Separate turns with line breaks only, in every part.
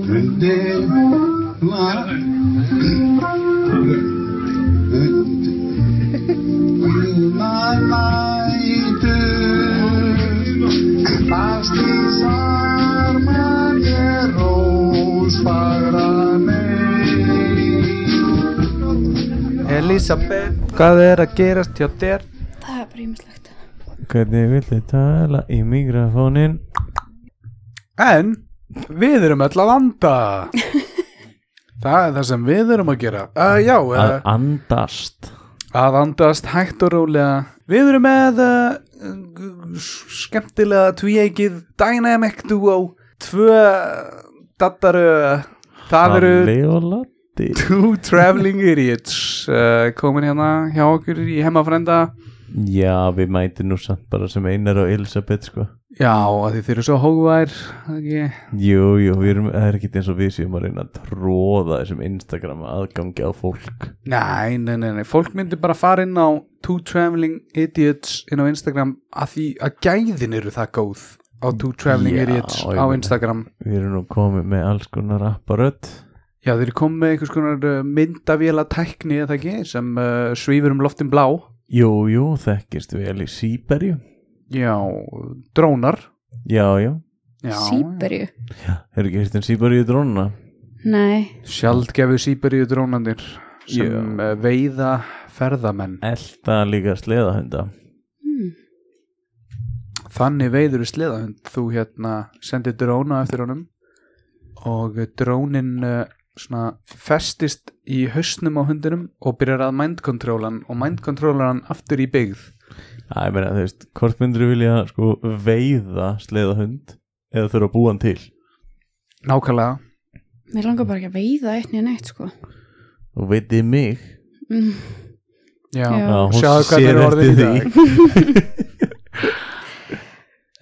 Önde var.
Elisabeth, hvað er að gerast hjá þér?
Það er bara ímislegt.
Hvernig viltu tala í mikrofónin?
En við erum öll að landa Það er það sem við erum að gera uh, Já,
Að
uh,
andast
að andast hægt og rólega Við erum með uh, skemmtilega tvíegið Dynamic Duo Tvö dattaru Það eru
Halli og Latti
Two Traveling Idiots uh, komin hérna hjá okkur í hemmafrenda
Já, við mætum nú samt bara sem Einar og Elisabeth sko
Já, að þið eru svo hógvær það ekki?
Jú, jú, við erum, það er ekki eins og við séum að reyna að tróða þessum Instagram aðgangi á fólk
Nei, nei, nei, nei, fólk myndi bara fara inn á Two Traveling Idiots inn á Instagram að því að gæðin eru það góð á Two Traveling
Já,
Idiots
ég
á
meina.
Instagram
Við erum nú komið með alls konar apparödd
Já, þeir eru komið með einhvers konar uh, myndavéla tækni eða ekki sem uh, svífur um loftin blá
Jú, jú, þekkist vel í Sýberju
Já, drónar
Já, já,
Já,
Sýberju.
hefur ekki hérst en Sýberju drónuna
Nei,
Sjaldgefu Sýberíu drónandir sem
Já.
uh, veiða ferðamenn
Elta líka sleðahunda
Hmm.
Þannig veiður við sleðahund þú hérna sendir dróna eftir honum og drónin uh, svona festist í hausnum á hundinum og byrjar að mindkontrólan og mindkontrólar hann aftur í byggð
Það er meina, þú veist, hvort myndur vilja sko veiða sleðahund eða þurfa að búa hann til
nákvæmlega
mér langar bara ekki að veiða eitt nýja neitt, sko.
og veitið mig
Mm.
Já,
Já.
Já, hún
sjáðu hvað
sér
það er orðin í
eftir
dag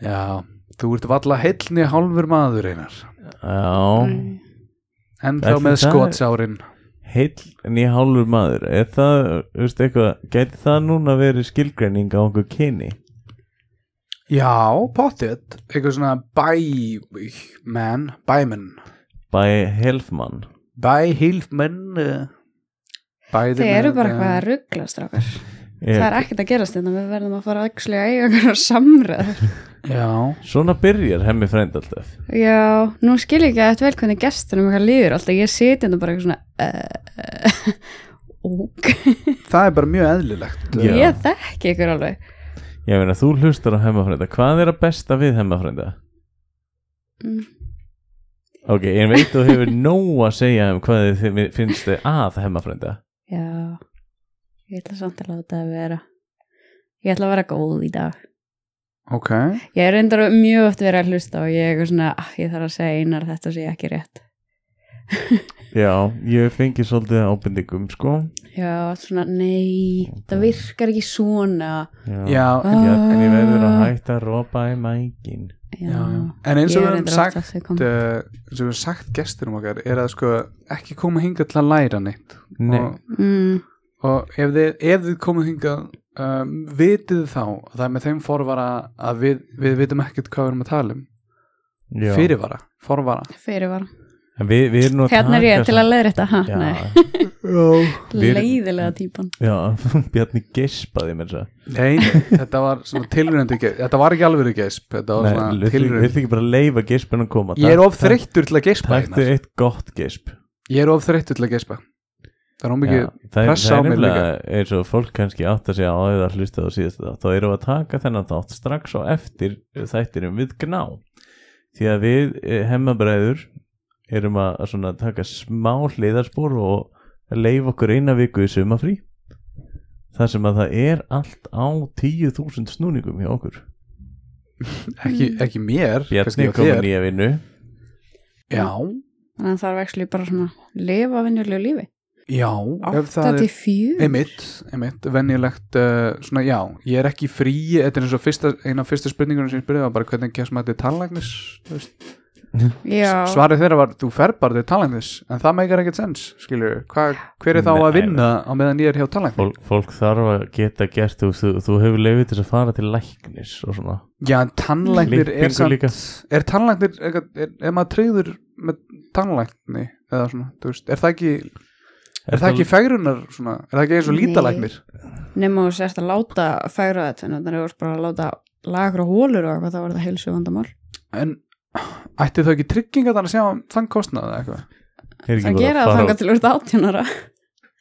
Já, þú ert valla heilni hálfur maður einar
Já,
en
Ætli
þá með
það-
skotsárin
heill nýhálfur maður er það, þú veist eitthvað gæti það núna verið skilgreining á einhver kyni
Já, pottet, eitthvað svona bæ man, bæmen
by helfmann
Bæ hilfmenn
eh.
Þið eru
eh,
bara eitthvað að ruggla, strákar. Það er ekkert að gerast þetta, við verðum að fara að actually að eiga einhverjar samræður.
Já,
svona byrjar hemmi frænd alltaf
Já, nú skil ég ekki að þetta vel hvernig gestunum eitthvað líður alltaf. Ég seti þetta bara eitthvað svona... Uh, ok.
það er bara mjög eðlilegt
Já.
Ég þekki ykkur alveg.
ég meina þú hlustar á hemmi frænda hvað er að besta við hemmi frænda
Mm.
ok, ég veit þú hefur nóg að segja um hvað þið finnst þið að hemmi frænda
Já, ég ætla samt að láta það vera. Ég ætla að vera góð í dag.
Ok,
Ég er reyndar mjög oft verið að hlusta og ég er eitthvað svona, ah, ég þarf að segja einar þetta sé ekki rétt.
já, ég fengi svolítið ábendingum sko
Já, svona, nei, það virkar ekki svona.
já,
já,
Ah.
Bjarni verður að hætta að ropa í mækin
Já,
já, já. En eins og
Ég
við höfum
er reyndar
sagt
oft að þau koma.
uh, eins og við höfum sagt gesturum okkar er að sko ekki koma hingað til að læra neitt
Nei.
og,
Mm,
og ef, þið, ef þið komum hingað um, vitið þá að það er með þeim forvara að við, við vitum ekkert hvað við erum að tala um
Já.
fyrirvara, forvara
fyrirvara.
En við, við erum nú að
Hérna er ég til að
samt-
leiðrétta, ha,
Já,
nei,
við-
leiðilega típan.
já, Bjarni gespaði mér svo
Nei, nei, þetta var svona tilröndi þetta var ekki alveg gesp þetta var
Nei,
svona
viltu
tilröndi
viltu ekki bara leifa gespin að koma
Ég er of
Takk-
þreyttur til að gespa
takk- Taktu
Einar.
eitt gott gesp
Ég er of þreyttur til að gespa Það er ómikið
Já, það er,
pressa
það
á
er
mig
nefnilega eins og fólk kannski átt að segja á eða hlusta á síðast þátt þá erum við að taka þennan þátt strax og eftir þættinum við gná því að við eh, hemmabræður erum að að svona taka smá hliðarspor og leif okkur eina viku í sumafrí þar sem að það er allt á 10.000 snúningum hjá okkur
ekki,
Mm.
ekki mér kannski
Bjarni
hjá
komin
þér.
í að vinnu
Já,
Þannig að það er vexlu bara svona, að lifa vinnjulegu lífi.
já ef það er
84.
einmitt, einmitt, venjulegt uh, svona já, ég er ekki í fríi þetta er eins og fyrsta, eina af fyrsta spurningunum sem ég spurði var bara hvernig kemst maður til tannlæknis þú veist.
Já,
svarið þeirra var, þú fer bara til tannlæknis en það meikar ekkert sens, skilur Hva, hver er þá
Nei,
að vinna á meðan ég er hjá tannlæknis
fólk, fólk þarf að geta gert þú, þú, þú hefur leifið til þess að fara til læknis og svona
já, en tannlæknir er
Klippingu
samt
líka.
er tannlæknir, er, er, er maður treyður með tannlækni eða svona, þú veist, er það ekki er það ekki fegrunar svona, er það ekki eins og
Nei.
lítalæknir
nema þú sérst að láta færa þetta en þannig að þú ert bara að láta laga ykkur á hólur og eitthvað, þá var þetta heilsu vandamál
en ætti þau ekki tryggingat að sjá um þann kostnaði eða eitthvað
er ekki
það
bara
gera
að
það
fara
þangað til þú ert 18 ára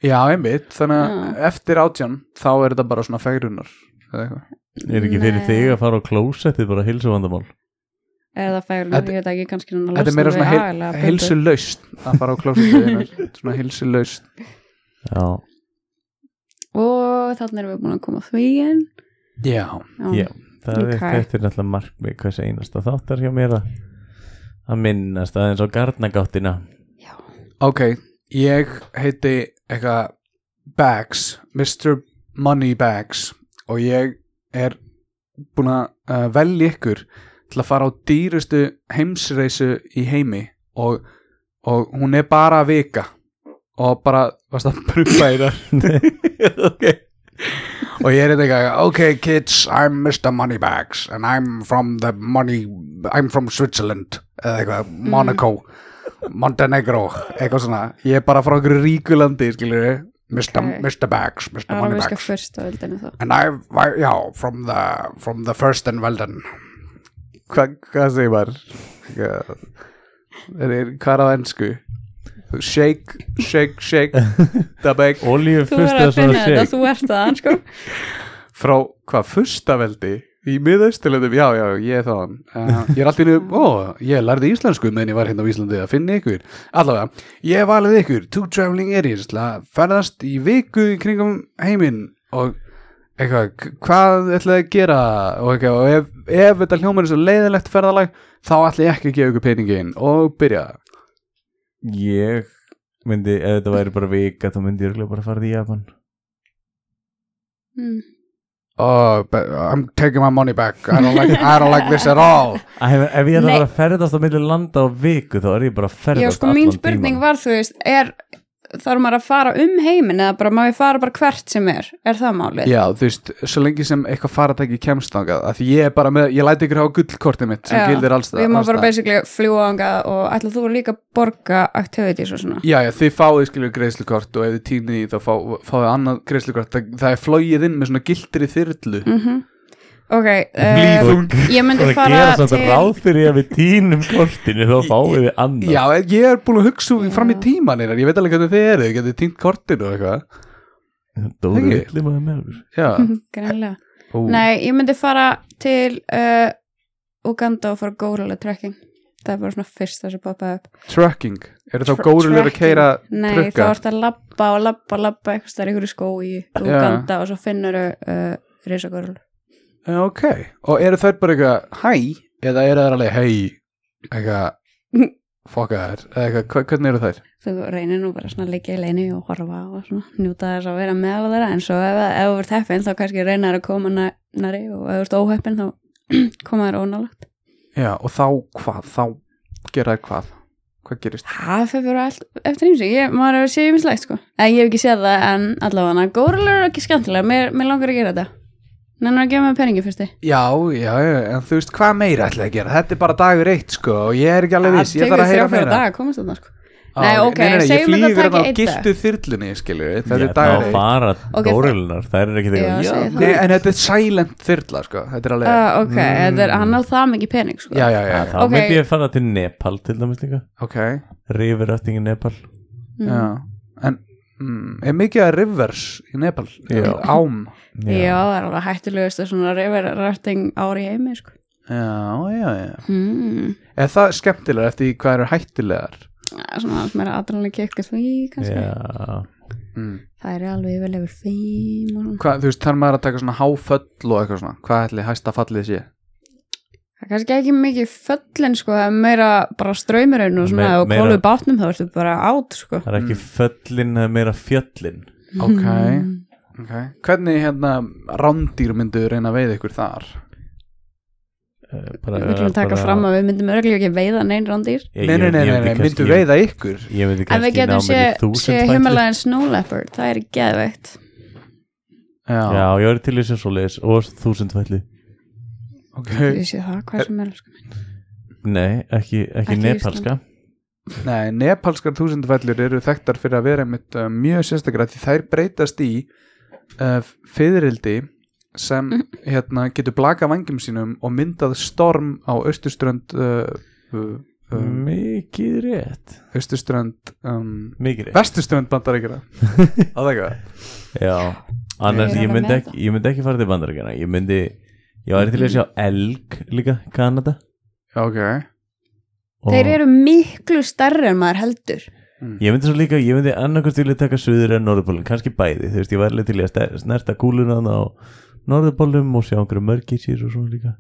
já, einmitt, þannig að
Já.
eftir átján þá er þetta bara svona fegrunar eða eitthvað,
er ekki fyrir
Nei.
þig að fara á klósettið bara hilsu vandamál
eða færa
Þetta-
þetta, ég veit ekki kannski núna
þetta er
losnar
meira
við
svona
aga eða
heil,
bubu.
heilsu laust að fara á klósum svona heilsu laust
já,
og þannig erum við búin að koma að því inn
já,
Já. það
Ok.
er þetta er náttúrulega markmið hvers einasta þáttar hjá mér að að minnast aðeins á garnagáttina
ok ég heiti eitthvað Bags, Mr. Money Bags og ég er búin að uh, velja ykkur til að fara á dýrustu heimsreisu í heimi og, og hún er bara vika og bara, varst að prumpa í það
ok
og ég er þetta eitthvað, ok kids I'm Mr. Moneybags and I'm from the money, I'm from Switzerland eða eitthvað, Monaco Montenegro, eitthvað svona ég er bara frá einhverju ríkulandi, skilur við Mr.
Ok.
Mr. Bags, Mr.
Það var að viska
Moneybags
fyrst á öldinu þá
and I, I já, from the from the first and well done Hva, hvað segir maður? Hvað er, er, hvað er að ennsku? Shake, shake, shake the bag
olíu
Þú verður
fyrst
að
að svona
finna þetta,
sig
þú ert það sko.
frá hvað furstaveldi í miðaustilöndum, já, já, ég er þaðan uh, ég er alltaf innu, ó, ég lærði íslensku meðan ég var hérna á Íslandi að finna ykkur allavega, ég valið ykkur two traveling areas, til að ferðast í viku í kringum heiminn og eitthvað, k- hvað ætlaði að gera og eitthvað, og ef, ef þetta hljómar er svo leiðilegt ferðalag, þá ætla ég ekki að gefa ykkur peningin og byrja
ég myndi, ef þetta væri bara vika þá myndi ég örugglega bara fara í Japan
mm.
oh, but I'm taking my money back I don't like, I don't like this at all
Ef, ef ég er að
Nei.
fara að ferðast á milli landa á viku þá er ég bara að
Já,
ferðast
sko, mín
allan
spurning
tímann.
var, þú veist, er þarf maður að fara um heiminn eða bara má ég fara bara hvert sem er, er það málið?
Já, þú veist, svo lengi sem eitthvað faratæki kemst þangað, að því ég er bara með, ég læti ykkur á gullkortið mitt sem
Já,
gildir alls
Við má
alls
bara
staðar.
basically fljúa angað og ætla þú líka að borga activities og svona.
Já, já, þið fáið skilur greiðslukort og ef þið týnið því þá fá, fáið annað greiðslukort það, það er flóið inn með svona gildri þyrlu
Mm Ok, uh,
Blýðung.
ég myndi
Það
fara
gera samt
til...
að ráð fyrir ég að við tínum kortinu þá fáum við annað
Já, en ég er búin að hugsa
Já.
fram í tíman einar, ég veit alveg hvernig þið eru, þið getið týnt kortinu og eitthvað
Dóri
Ekki.
villi maður með okkur.
Já,
Mhm, Greinlega.
Ó,
Nei, ég myndi fara til uh, Uganda og fara górulega trekking. Það er bara svona fyrst það sem poppaði upp.
trucking, eru þá
Tr-
górulegur að
tracking.
keira
Nei,
trukka?
þá ertu að labba og labba og labba eitthvað stær ykkur í skói og
Já.
ganda og svo finnur þau uh, risagörl.
Já, Ok, og eru þær bara eitthvað hæ, eða eru þær alveg hei eitthvað fokka þær, eða eitthvað, hva- hvernig eru þær?
Þú reynir nú bara svona að liggja í leini og horfa og svona njúta þess að vera með á þeirra en svo ef, ef þú ert heppin þá kannski reynar að koma næ- nærri og ef þú ert óheppin þá koma þér ónálegt.
Já, og þá hvað, þá gera þær hvað? Hvað gerist?
Það fyrir bara allt eftir nýmsi, ég, maður hefur séð ímislegt sko. En ég hef ekki séð það en allavega górlur er ekki skemmtilega, mér, mér langar að gera þetta. Nennar að gefa mér peningi fyrst þið.
Já, já, já, en þú veist, hvað meira ætla ég að gera? Þetta er bara dagur eitt, sko, og ég er ekki alveg viss, ég þarf að heyra
meira. Það tekur þrjá fjóra
meira.
daga að komast þarna sko.
Á,
Nei, ok,
ég
segjum
flýgur
þetta taki
þarna á
einn dag.
giltu þyrlunni, skilju, þetta
Ég
er
ætla að
dagur eitt.
fara
Ok,
okay, górilunar, þær eru ekki
Já,
þegar
segi það.
Nei, en þetta er silent þyrla, sko, þetta er alveg,
Uh, ok, þetta er, hann á það mikið pening sko.
Mm. já, já, já, já,
Þá
Ok.
myndi ég að fara til Nepal til dæmis líka
ok,
Rifuröfting í Nepal
Mm.
já, en mm, er mikið að rivers í Nepal,
Já.
ám,
Já, það er alveg hættulegust að svona reyver röfting ári heimi sko.
já, já, já,
mm.
er það skemmtilegar eftir því hvað eru hættilegar?
Það er Svona aðeins meira aðdrannlega kikk því kannski
Já,
Mm.
Það er alveg yfir lefur fimm og svona.
Hvað, þú veist, þarf maður að taka svona háföll og eitthvað svona, hvað ætli hæsta fallið sé?
Það er kannski ekki mikið föllin sko, það er meira bara ströymurinn og svona
Me-
og
meira-
kólu bátnum þá ertu bara átt sko.
það er ekki föllin, það er meira fjöllin
Ok, ok. Hvernig hérna rándýr myndu reyna að veiða ykkur þar?
Eh, bara-
Við viljum taka
bara-
fram að við myndum örglega ekki veiða neinn rándýr
Ég-
nei, nei,
ég-
nei,
ég
nei,
myndi
nei,
kannski-
myndu veiða ykkur?
Ég myndi
En við
kannski ná
getum
mér í
sé, sé
þúsund þætti
Himalayan Snow Leopard, það er geðveitt
Já,
Já, ég var til þess að svo leis og þúsund þætti
ok.
Ég sé það, hvað sem er sko.
Nei, ekki, sko. ekki
Ekki
nepalska
Nei, nepalskar þúsundfellur eru þekktar fyrir að vera einmitt uh, mjög sérstakar af því þær breytast í uh, fyririldi sem hérna, getur blaka vangjum sínum og myndað storm á austurströnd uh, uh, um,
Mikið rétt
austurströnd um,
Mikið rétt
vesturströnd bandaríkjara á það ekki
Já, annars
Ég er
ég
alveg
myndi,
með
ekki, ég myndi ekki fara til bandaríkjana Ég myndi, ég væri til að sjá Elg líka, Kanada
ok,
og
Þeir eru miklu stærri en maður heldur
Ég myndi svo líka, ég myndi annarkvæmst vilja taka suður en norðupólum, kannski bæði, þú veist, ég var alveg til í að ste- snerta kúluna á norðupólum og sjá einhverju mörgisir og svona líka.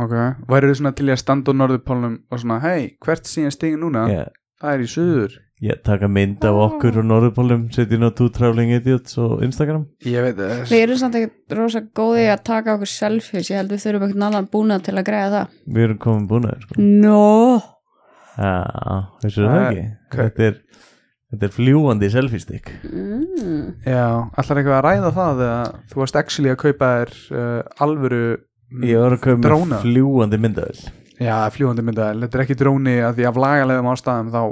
ok værið þið svona til í að standa á norðupólnum og svona, hei, hvert síðan stigin núna
Ég,
það er í suður,
ég taka mynd af
Ah.
okkur og norðupólum, setja inn á Two Traveling Idiots og Instagram.
ég veit það
Við erum samt ekkert rosa góði að taka okkur selfies Ég held við þurfum ekkert náðan búna til að greiða það
Við erum komin búnaður, sko.
Nó
Já, þessu er það
Ah,
ekki.
ok.
Þetta er, þetta er fljúandi selfie stick.
mm.
Já, allar eitthvað að ræða það eða þú varst actually að kaupa þér uh, alvöru mm,
Ég var að koma
Dróna.
með fljúandi myndavel.
Já, fljúandi myndaðil, þetta er ekki dróni að því af lagalegum ástæðum þá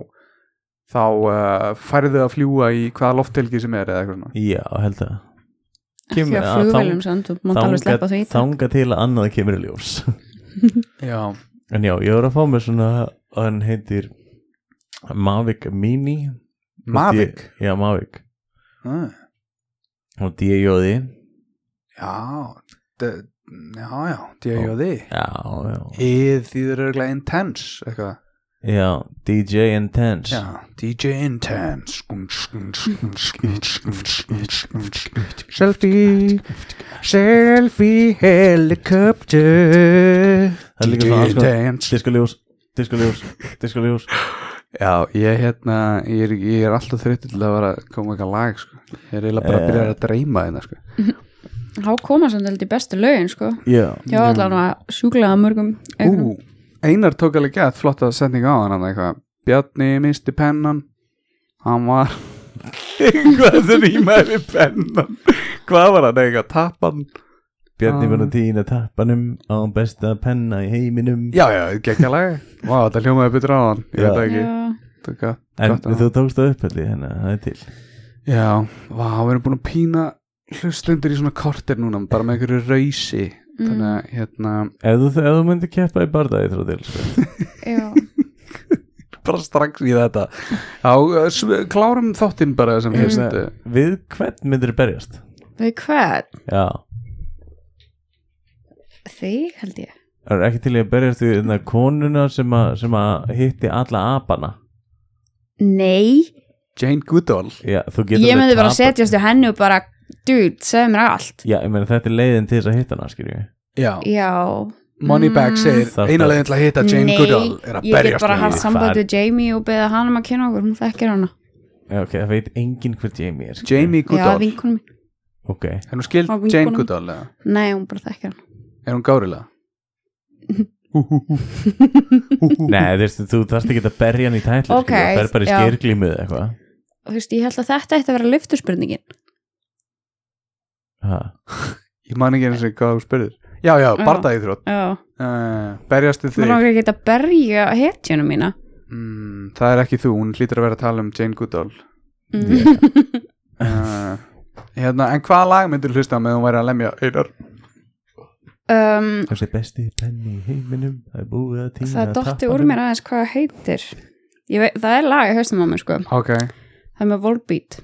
þá uh, færðu að fljúa í hvaða lofthelgi sem er eða eitthvað svona
Já, held það.
Ekki
Kemur-
að
að
flugvelum samt Þú mátt alveg sleppa því í dag.
þanga til að annað kemur í ljós.
Já,
En já, ég var að fá mér svona hann heitir Mavic Mini
Mavic
D- Já, Mavic
uh,
og D.I.O.D
Já, d- já, já, D.A.J.O.D
Já, já
Íð því þau eru eitthvað intense eitthvað
Já, DJ Intense
Já, DJ Intense Selfie Selfie helicopter
Það er líka svona
sko.
alls konar Diskoljós, diskoljós, diskoljós
Já, ég hérna ég er, ég er alltaf þreyttur til að vera að koma eitthvað lag sko. ég er eiginlega bara að byrja að dreyma þeirna sko.
Há koma samt held í bestu lögin sko
Já
Já, allan að sjúklaða mörgum
Ú, Einar tók alveg gett flotta setning á hann eitthvað, Bjarni misti pennan hann var eitthvað sem rýmaði við pennan hvað var hann eitthvað, tappan
Bjarni
Ah.
verður tína tappanum á besta penna í heiminum
Já, já, geggja lag Vá, þetta hljómaði betur á hann, ég
Já.
veit það ekki
Já,
Taka,
En
gott að-
þú tókst það upp allir hennar, það er til
Já, vá, við erum búin að pína hlustundur í svona kortir núna bara með einhverju rausi þannig að, hérna,
Ef þú, ef þú myndir keppa í bardaði þrjá til sko.
já
bara strax í þetta Já, uh, sv- klárum þáttinn bara sem fyrst uh,
Við hvern myndir berjast?
Við hvað?
Já
Þig held ég
Það er ekki til í að berjast við hérna, konuna sem að, sem að hitti alla apana
Nei,
Jane Goodall
Já, þú getur
ég
alveg
myndi bara
tapað.
setjast á henni og bara Dude, segðu mér allt
Já, ég meina þetta er leiðin til þess að hitta hana, skiljum við
Já,
Já,
Moneybag segir
Þarftu-
eina leiðin til að hitta Jane
Mm. Nei,
Goodall er að
ég get
berjast
bara
við
haft
þig."
þig.
samband
Far-
við Jamie og beðið hann um að kynna okkur, hún þekkir hana
Já, ok, það veit enginn hver Jamie er skilurðu.
Jamie
Já,
Goodall,
vinkunum mín,
Ok,
er hún skild
Á vinkonum.
Jane Goodall eða?
nei, hún bara þekkir hann
Er hún gárilega?
nei, þú veist, þú þarfst ekki að berja hann í tætla
Ok,
Það er bara í
já.
skirglímið eða eitthvað
Þú veist, ég held að þetta ætti að vera lyftuspurningin
Ha,
Ég man ekki eins og hvað þú spurðir Já, já,
Já.
bardaði þrótt
Já,
uh, Berjast við
maður
þig
langar ekki að berja hetjunum mína
mm, Það er ekki þú, hún hlýtur að vera að tala um Jane Goodall
mm.
uh, Hérna, en hvaða lag myndir hlusta á með hún væri að lemja einar?
um,
Þessi besti penni í heiminum Það er búið að týna
Það dotti úr mér aðeins hvað það heitir Ég veit, Það er lag í haustum á mér sko
Ok,
Það er með Volbeat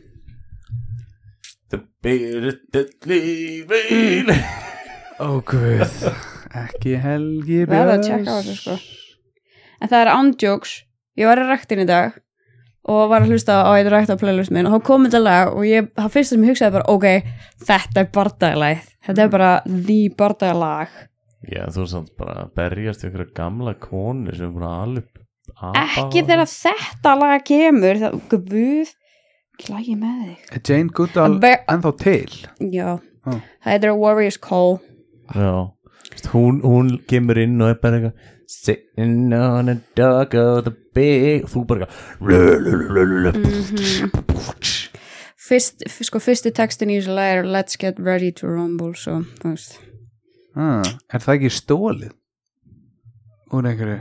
Það byrði lífin
ó guð Ekki Helgi Björns
Verð að tjekka á þessu, sko. En það er ándjóks Ég var í ræktin í dag og var að hlusta á eitthvað rækt á playlist minn og þá kom þetta lag og ég, það fyrst sem ég hugsaði bara ok, þetta er bardagalæð þetta er bara því bardagalag
Já, þú er samt bara að berjast við einhverja gamla konu sem er búin að alveg Ah,
ekki þegar þetta lag kemur það, guð, klægi með þig
Er Jane Goodall
Að ver-
ennþá til
já,
Ó.
það heitir a warrior's call
Já, Veist, hún, hún kemur inn og er bara eitthvað Sitting on a dog of the big Þú bara eitthvað
Fyrst, f- sko, fyrsti textin í þessu lag er let's get ready to rumble so, þú veist
ah, Er það ekki stólið? Úr einhverju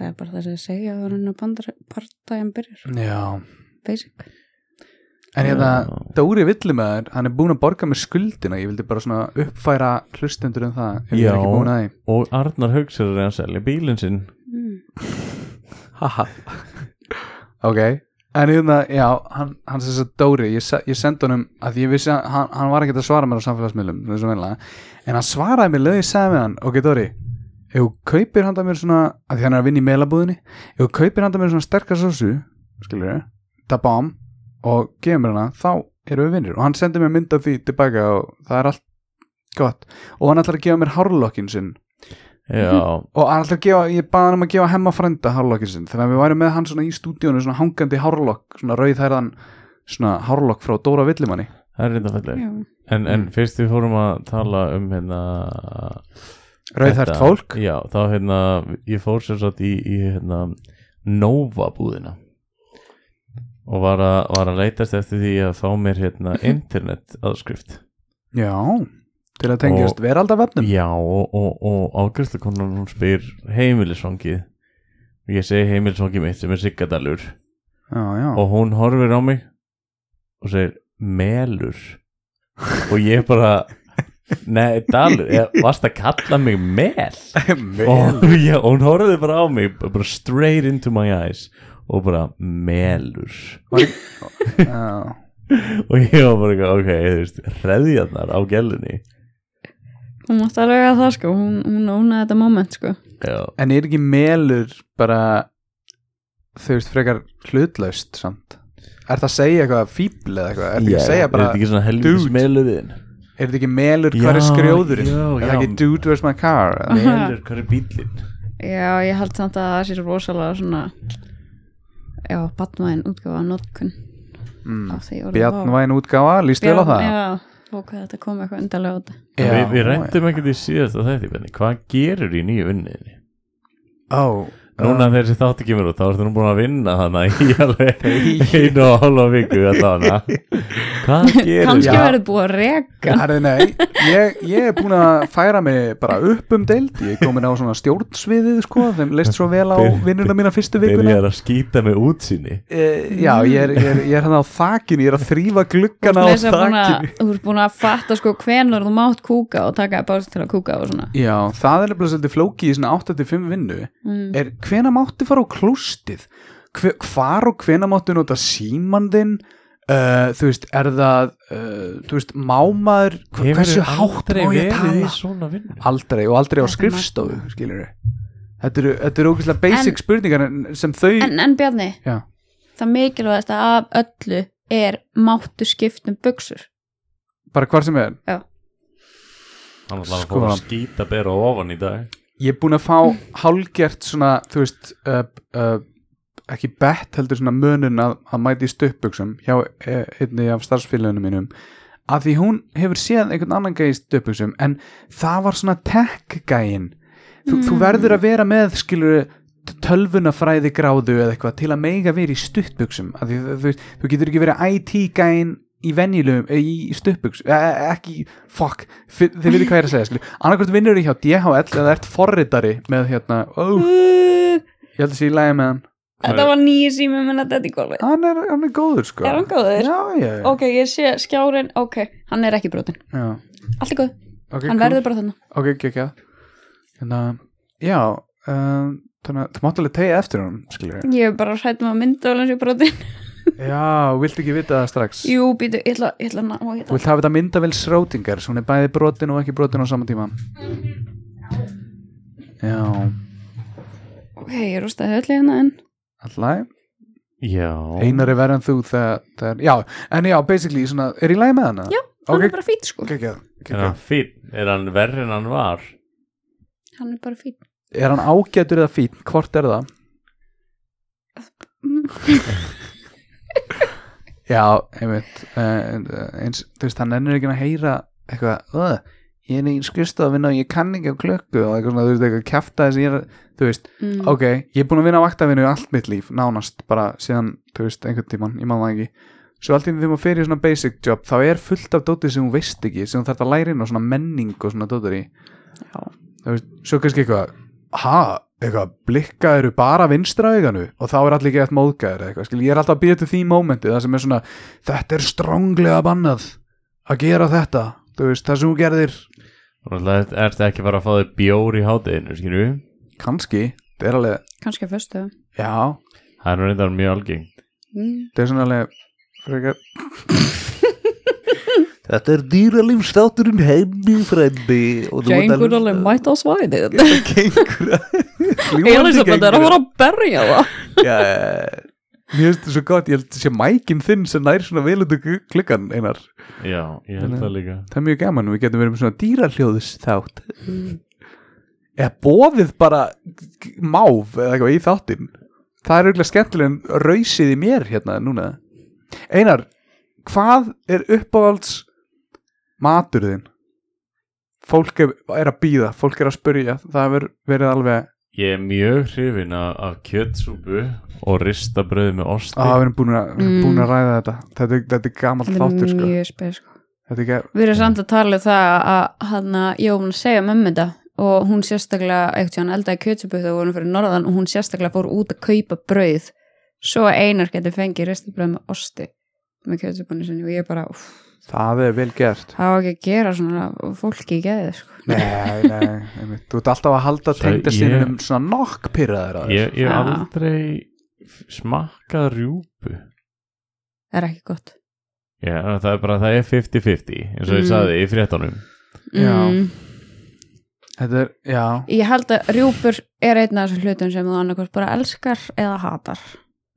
það er bara það sem ég segja að það er hennar partæjan byrjar
Já,
basic
en hérna
Já.
Dóri Villimæður, hann er búin að borga með skuldina ég vildi bara svona uppfæra hlustendur um það, ef ég
Já.
er ekki búin að því
og Arnar Hauks er að reyna að selja bílinn sinn
mm.
Haha Ok, en hérna, já, hann, hann sem sagt Dóri, ég, se- ég sendi honum að ég vissi að hann, hann var ekki að svara mér á samfélagsmiðlum eins og venlega, en hann svaraði mér lög ég sagði með hann, ok Dóri ef þú kaupir handa mér svona, að því hann er að vinna í meilabúðinni, ef þú kaupir handa mér svona sterkar sósu, skilur ég dabam, og gefur mér hana þá erum við vinnir, og hann sendi mér mynd af því tilbaka og það er allt gott, og hann ætlar að gefa mér hárlokkin sinn
já,
og hann ætlar að gefa, ég baði hann um að gefa hemma frænda hárlokkin sinn, þannig að við værum með hann svona í stúdíónu svona hangandi hárlokk, svona rauðhærðan svona hárlokk frá Dóra Villimanni
það er reynda falleg
já.
en, en fyrst við fórum að tala um hérna
rauðhært
þetta-
fólk
já, þá hérna, ég fór sér satt í, í hérna, Nova búðina og var að, var að leitast eftir því að fá mér hérna
Mhm.
internet aðskrift
já, til að tengjast veraldavefnum
Já, og, og, og ágæðslakonan hún spyr heimilisfangið Ég segi heimilisfangið mitt sem er Siggadalur
já, já,
Og hún horfir á mig og segir melur Og ég bara, nei Dalur, ég, varst að kalla mig mel? Og, já, og hún horfði bara á mig, bara straight into my eyes Og bara melur
já.
Og ég var bara, eitthvað, ok, þú veist, hreðjarnar á gælunni
hún mátti alveg að það sko hún, hún ónaði þetta moment sko
Já,
en er ekki melur bara þau veist frekar hlutlaust samt er það að segja eitthvað fíbl eða eitthvað, er það ekki að segja bara
Er þetta ekki svona helvítis
dude.
meluðin?
er þetta ekki melur, hvar er
Já,
skrjóðurinn
já,
er
já.
það ekki dude where's my car eða?
Melur, hvað er bílinn?
já, ég held samt að það sé svo rosalega svona já, batmaðin útgáfa notkun
mm.
af því orðið var.
Bjarnvæn útgáfa, líst vel á
Bjarn-
það
já, og hvað þetta kom eitthvað undarlega á þetta
Já,
við við rættum ekkert í síðast að þetta Benni. Hvað gerur í nýju vinninni?
Ó, uh,
Núna þegar þessi þáttu kemur út, þá ertu nú búin að vinna hana í alveg einu og hálfa viku allavega. Hvað gerur?
kannski
Já.
verður búið að reka
Herði, nei, ég, ég er búin að færa mig bara upp um deild ég er komin á svona stjórnsviðið sko þeim leist svo vel á
Byr-
vinnuna mína fyrstu vikuna
Byrjar að skýta með útsýni.
e, Já, ég er, ég, er, ég er hann á þakinu ég er að þrýfa gluggana á
Leisa búin að,
þakinu
þú ert búin að fatta sko hvenur þú mátt kúka og taka báðs til að kúka og svona
Já, það er nefnilega svolítið flóki í svona 85 vinnu
mm.
er hvena máttu fara á klústið Hve, hvar og hvena máttu nota símandinn uh, þú veist, er það uh, þú veist, mámaður hva- hversu hátt má ég
Hefur aldrei verið
tala
í svona vinnu?
aldrei og aldrei á
Þetta er
skrifstofu skilur við þetta eru, þetta eru ógeðslega basic
En-
spurningar en- sem þau
en, en Bjarni,
Já.
það mikilvægast af öllu er máttu um skiptum buksur
bara hvar sem er
Hann var að
Sko.
fóra að skýta bera ofan í dag.
ég er búin að fá hálgert svona þú veist uh, uh, ekki bett heldur svona mönun að, að mæti í stöppbuksum hjá eh, einni af starfsfélaginu mínum að því hún hefur séð einhvern annan gæði í stöppbuksum en það var svona tech gæin þú, þú verður að vera með skilur tölvunafræði gráðu eða eitthvað til að mega vera í stuttbuksum að því, þú, þú, veist, þú getur ekki verið IT gæin í venjulegum, eh, í stuttbuks e, ekki, fuck, fi- þið veitir hvað ég er að segja skilur, annarkvort vinnur þú hjá DHL eða ert forritari með hérna ó,
uh,
ég held að sé í lægi með hann
Þetta var nýju sími minna þetta í golfi
hann er, hann er góður sko
Er hann góður?
já, já, já,
Ok, ég sé skjárin, ok, hann er ekki brotin
já.
Allt er góð,
Okay,
hann verður bara þannig
ok, ok, ok þannig að, já um, þannig að þú mátt alveg tegja eftir hann skilur,
Ég er bara hrætt með að mynda alveg sér brotin
já, vilt ekki vita það strax
Jú, býtu, ég ætla, ég ætla, að ná- ó,
Þú
ég ætla
vilt hafa þetta myndavel srótingar svo hún er bæði brotin og ekki brotin á sama tíma Já
Ok, ég rústaði öllu hérna en
Allæg,
Já.
einar er verið en þú þegar, þegar, já, en já, basically svona, er í lagi með hana? Já,
Hann
okay.
er bara fýt sko,
okay, okay,
Er hann fínn? Er hann verri en hann var?
hann er bara fýt
Er hann ágætur eða fín? Hvort er það? Já, einmitt uh, eins, þú veist, hann ennur ekki að heyra eitthvað, öð, ég er í skristofinu og ég kann ekki á klökku og eitthvað svona, þú veist, eitthvað kjafta þess ég er, þú veist
mm.
ok, ég er búin að vinna á vaktavinu allt mitt líf, nánast, bara síðan, þú veist, einhvern tíman, ég man það ekki svo allt í því þegar maður fer í svona basic job þá er fullt af dótið sem hún veist ekki sem hún þarf að læra inn á svona menning og svona dótið í
Já.
þú veist, svo kannski eitthvað ha, eitthvað, blikka eru bara vinstra auganu og þá er allir gett móðgæður eitthvað, skil, ég er alltaf að býja til því mómenti það sem er svona, þetta er stránglega bannað að gera þetta þú veist, það sem þú gerðir,
Þannig að ertu ekki bara að fá þér bjór í hátæðinu, skilju?
kannski það er alveg,
kannski að föstu
já,
Það er nú reyndar mjög algengt.
mm.
það er svona alveg frekar,
Þetta er dýralífstátturinn heimni frændi og þú ert að
Gengur
hlusta.
alveg mætt á svæðið
Gengur
Elisabeth er að fara að berja það
Já,
mér finnst þetta svo gott, ég held að sé mækin þinn sem nær svona velundu klukkan einar,
Já, ég held það líka.
það er mjög gaman við getum verið með svona dýraljóðus þátt eða bóðið bara máf eða eitthvað í þáttinn það er auðvitað skemmtileg en rausið í mér hérna núna Einar, hvað er uppáhalds maturðin? Fólk er, er að býða, fólk er að spyrja það hefur verið alveg
Ég er mjög hrifin af, af kjötsúpu og ristabröð með osti.
að Ah, við erum búin að,
Mm.
búin að ræða þetta þetta, er- þetta er gamall
Þetta
þáttur
er
sko.
mjög spes sko.
þetta er ekki,
Við erum samt að tala um það að hann að ég var búin að segja mömmu þetta og hún sérstaklega, eitthvað hann eldaði kjötsupu þegar við vorum fyrir norðan og hún sérstaklega fór út að kaupa brauð svo að einar geti fengið ristabrauð með osti með kjötsupunni sinni og ég bara úff,
það er vel gert
það var ekki að gera svona fólki í geðið sko.
nei, nei, einmitt. þú ert alltaf að halda
Það- ég-
tengdastínum svona nokk pyrraðir að
Ég ég hef
Já.
aldrei f- smakkað rjúpu.
Það er ekki gott
Já, það er bara, það er 50-50, eins og
Mm.
ég saði í fréttanum.
Já. þetta er, já,
Ég held að rjúpur er einn af þessum hlutum sem þú annarkvist bara elskar eða hatar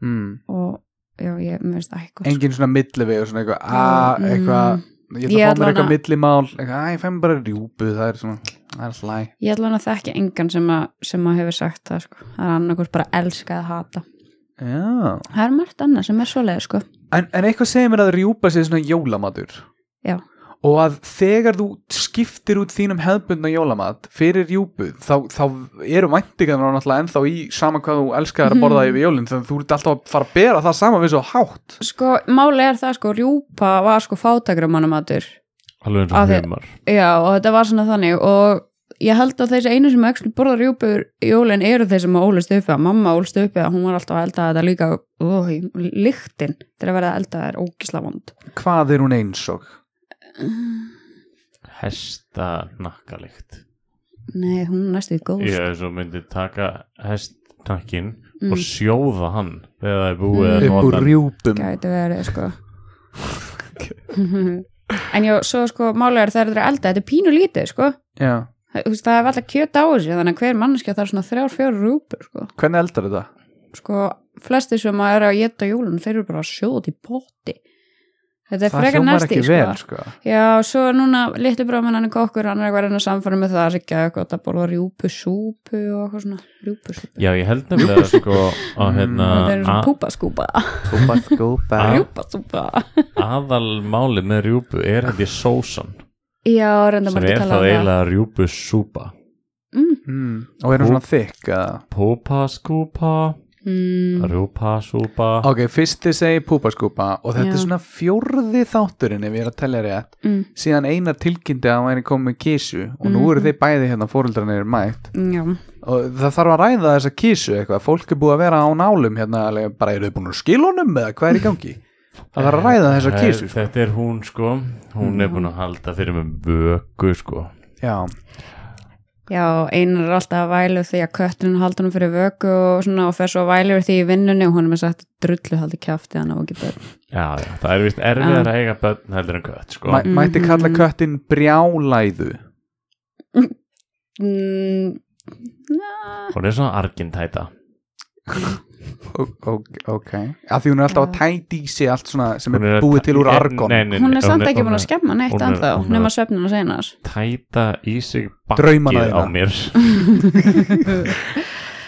mm.
og já, ég mér finnst það ekki gott
engin svona millivegur svona eitthvað, að,
Mm.
eitthvað ég ætla
Ég
að fá mér
allan
eitthvað
að-
millimál eitthvað, að ég fæ mér bara rjúpu, það er svona það er slæ,
Ég ætla hann að þekki engan sem að, sem að hefur sagt það sko. Það er annarkur bara elska að hata.
já
Það er margt annað sem er svoleið sko.
en, en eitthvað segir mér að rjúpa sé svona jólamatur
Já.
og að þegar þú skiptir út þínum hefðbundna jólamat fyrir rjúpu þá, þá eru væntingarnar náttúrulega ennþá í sama hvað þú elskar að
Mhm.
borða yfir jólinn þannig að þú ert alltaf að fara að bera það sama við svo hátt
Sko, máli er það sko, rjúpa var sko fátakramannamatur.
Alveg eins
Af
og
því-
humar.
Já, og þetta var svona þannig og ég held að þessi einu sem ekki borða rjúpur í jólinn eru þeir sem að ólist uppi að mamma ólist uppi að hún var alltaf að elda þetta líka ó, í- lyktin til að verða að elda er ógisla vond.
hvað er hún eins og?
Hesta nakkalikt.
Nei, hún er næstu í góð.
Ég
sko.
hef svo myndið taka hestnakkin
Mm.
og sjóða hann þegar það er búið
Mm.
að
upp úr
nota hann.
rjúpum
gæti verið sko en já, svo sko málegar þegar þetta er elda, þetta er pínu lítið sko
já.
það, þú veist, það er alltaf kjöt á þessu þannig að hver manneskja þarf svona þrjár, fjóru rúpur sko.
hvernig eldar þetta?
sko, flesti sem að eru að geta jólun þeir eru bara að sjóða til potti þetta er
það
frekar
hljómar
næsti
ekki
sko.
vel sko.
já, svo er núna litli bráman hann er kokkur, hann er eitthvað að reyna að samfara með það það er ekki að gott að borða rjúpusúpu og eitthvað svona rjúpusúpu
Já, ég held nefnilega sko að hérna
Mm. það er svona
a-
púpaskúpa,
Kúpa skúpa
Ah.
rjúpasúpa
aðalmáli með rjúpu er held ég sósan
já, reynda
sem
maður
er
að
þá
tala um það
eiginlega rjúpusúpa
mm. og er hún svona þykk eða?
Púpaskúpa,
mm.
rjúpasúpa
Ok, fyrsti segi púpaskúpa og þetta er
Já.
svona fjórði þátturinn ef ég er að tellja rétt
Mm.
síðan einar tilkynnti að hann væri komið með kísu og nú
Mhm.
eru þeir bæði hérna fóreldrarnir mætt
Já,
og það þarf að ræða þessa kísu eitthvað fólk er búið að vera á nálum hérna alveg, bara eru þið búin að skila honum eða hvað er í gangi það
Eh,
þarf að ræða þessa
Það er-
kísu sko.
Þetta er hún sko, hún
Mm.
er búin að halda fyrir með vöku sko
Já,
já einar er alltaf að vælu því að kötturinn haldur hann fyrir vöku og svona og fer svo að vælu yfir því í vinnunni og hann er með sagt drullu haldi kjafti hann á ekki börn.
Já, já, það er vist
Ah.
erfiðar að eiga börn heldur en kött sko
mæ, mætti kalla köttin brjálæðu
Mm,
Hún er svona argintæta
O- o- Ok, af því hún er alltaf að tæti í sig allt svona sem
Hún
er
að
búið
tæ-
til úr
Nei,
argon
nei, nei,
hún
nei,
er samt ekki
hún
búin að skemma neitt
hún er-
ennþá,
hún er-
nema söfnun og seinas.
tæta í sig
Draumana
bakkið
þína.
á mér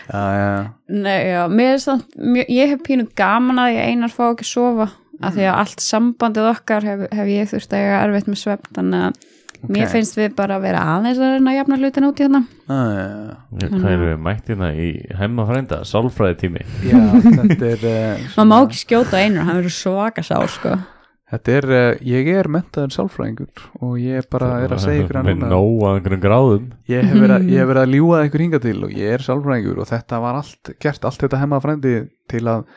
Já, já,
Nei, já, mér er samt, mjö, ég hef pínu gaman að ég einar fá ekki að sofa af
Mm.
því að allt sambandið okkar hef, hef ég þurft að eiga erfitt með svefn þannig að mér
Ok.
finnst við bara að vera aðeins að reyna að jafna hlutin út í hérna.
já, Ah, já, já.
Já, Hvað erum við mættina í hemmafrænda, sálfræði tími
Já, þetta er uh,
Maður má ekki skjóta einar, hann verður svaka sár sko.
Þetta er, eh, ég er mentaður sálfræðingur og ég bara er að segja ykkur að
Með
núna
nóg að einhverjum gráðum
ég hef verið að, ég hef verið að ljúga ykkur hinga til og ég er sálfræðingur og þetta var allt gert, allt þetta hemmað frændi til að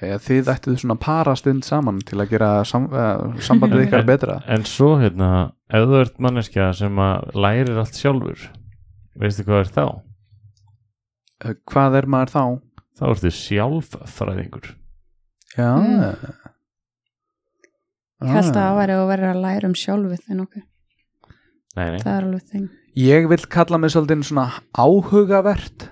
e, þið ættuð svona parastund saman til að gera sam, e, sambandið ykkar betra
En svo hérna, ef þú ert manneskja sem að lærir allt sjálfur Veistu hvað er þá?
Eh, Hvað er maður þá?
Þá ertu sjálffræðingur
Já
Mm. Ég held að
Ah.
það væri að vera að læra um sjálfið en okkur,
Nei, nei,
það er alveg þing
Ég vil kalla mig svolítið svona áhugavert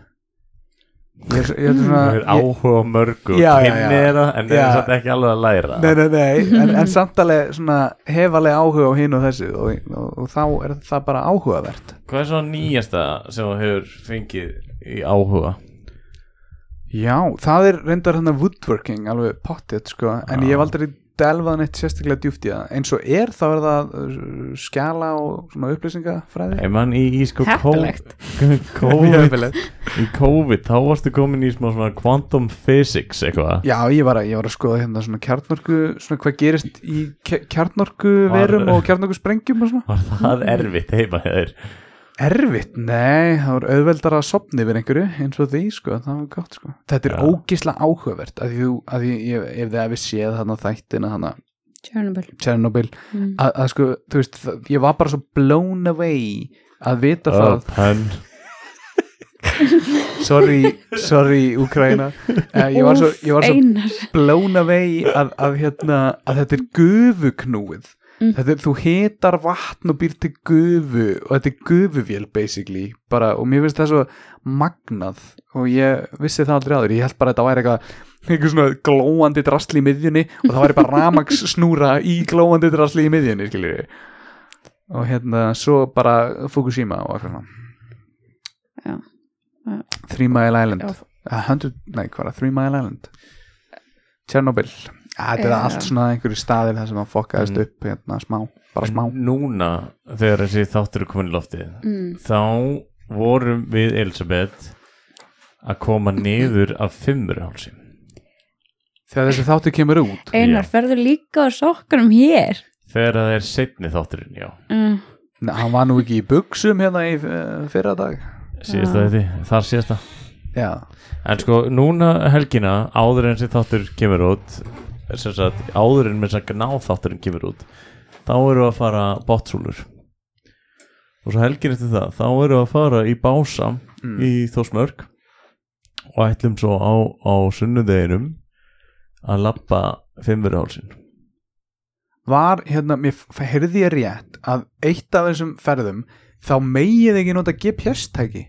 Ég er, ég er svona
það
ég,
er áhuga á mörgu
Já, já, já.
Kynni er það, en
Já.
það er satt ekki alveg að læra
Nei, nei, nei, en, en samtalið svona hefalega áhuga á hinn og þessu og, og, og þá er það bara áhugavert
Hvað er svona nýjasta sem þú hefur fengið í áhuga?
Já, það er reyndar hann að woodworking alveg pottið sko, en
Já.
ég hef aldrei delfað neitt sérstaklega djúpt í það eins og er þá er það uh, skjala og svona upplýsingafræði
Ef mann í, í sko
Heppilegt.
kó- COVID,
Jafnvel.
í COVID þá varstu komin í smá svona quantum physics eitthvað
Já, ég var, að, ég var að skoða hérna svona kjarnorku svona hvað gerist í kjarnorku verum
Var-
og kjarnorku sprengjum og svona
Var það erfitt heima hjá þér?
Erfitt, nei, það var auðveldar að sopna yfir einhverju eins og því sko, það var gott sko Þetta er
Já.
ógislega áhugavert að því þú, að því ég, ef þið hefði séð þarna þættina þarna
Chernobyl
Chernobyl
mm.
að, að sko, þú veist, það- ég var bara svo blown away að vita það
hann
sorry, sorry Ukraina uh, ég, var svo, ég var svo
Einar
blown away að, að, hérna, að þetta er gufuknúið
Mm.
þetta er, þú hitar vatn og býr til gufu og þetta er gufuvél basically bara, og mér finnst það svo magnað og ég vissi það aldrei áður ég held bara að þetta væri eitthvað einhver svona glóandi drasli í miðjunni og það væri bara ramags snúra í glóandi drasli í miðjunni skiljið og hérna svo bara Fukushima og eitthvað
Já.
svona Three Mile Island
Já.
A hundred, nei hvað er það, Three Mile Island Chernobyl Ah, Þetta er
Já.
allt svona einhverju staðir þar sem hann fokkaðist
Mm.
upp hérna smá, bara smá
Núna þegar þessi þáttur er komin í loftið
mm.
þá vorum við Elisabeth að koma niður af fimmurhálsi
Þegar þessi þáttu kemur út
Einar,
Já.
ferðu líka á sokkunum hér
þegar það er setni þátturinn, já
mm.
Nei, Hann var nú ekki í buxum hérna í uh, fyrra dag
síðasta
Já.
þetta, þar síðasta
Já,
en sko núna helgina áður en þessi þáttur kemur út sem sagt áður en með þess að ná þátturinn kemur út þá eru að fara bótsúlur og svo helgin eftir það þá eru að fara í bása
Mm.
í Þórsmörk og ætlum svo á, á sunnudeginum að lappa fimmurhálsin
var hérna, mér f- heyrði ég rétt að eitt af þessum ferðum þá megið ekki nota GPS-tæki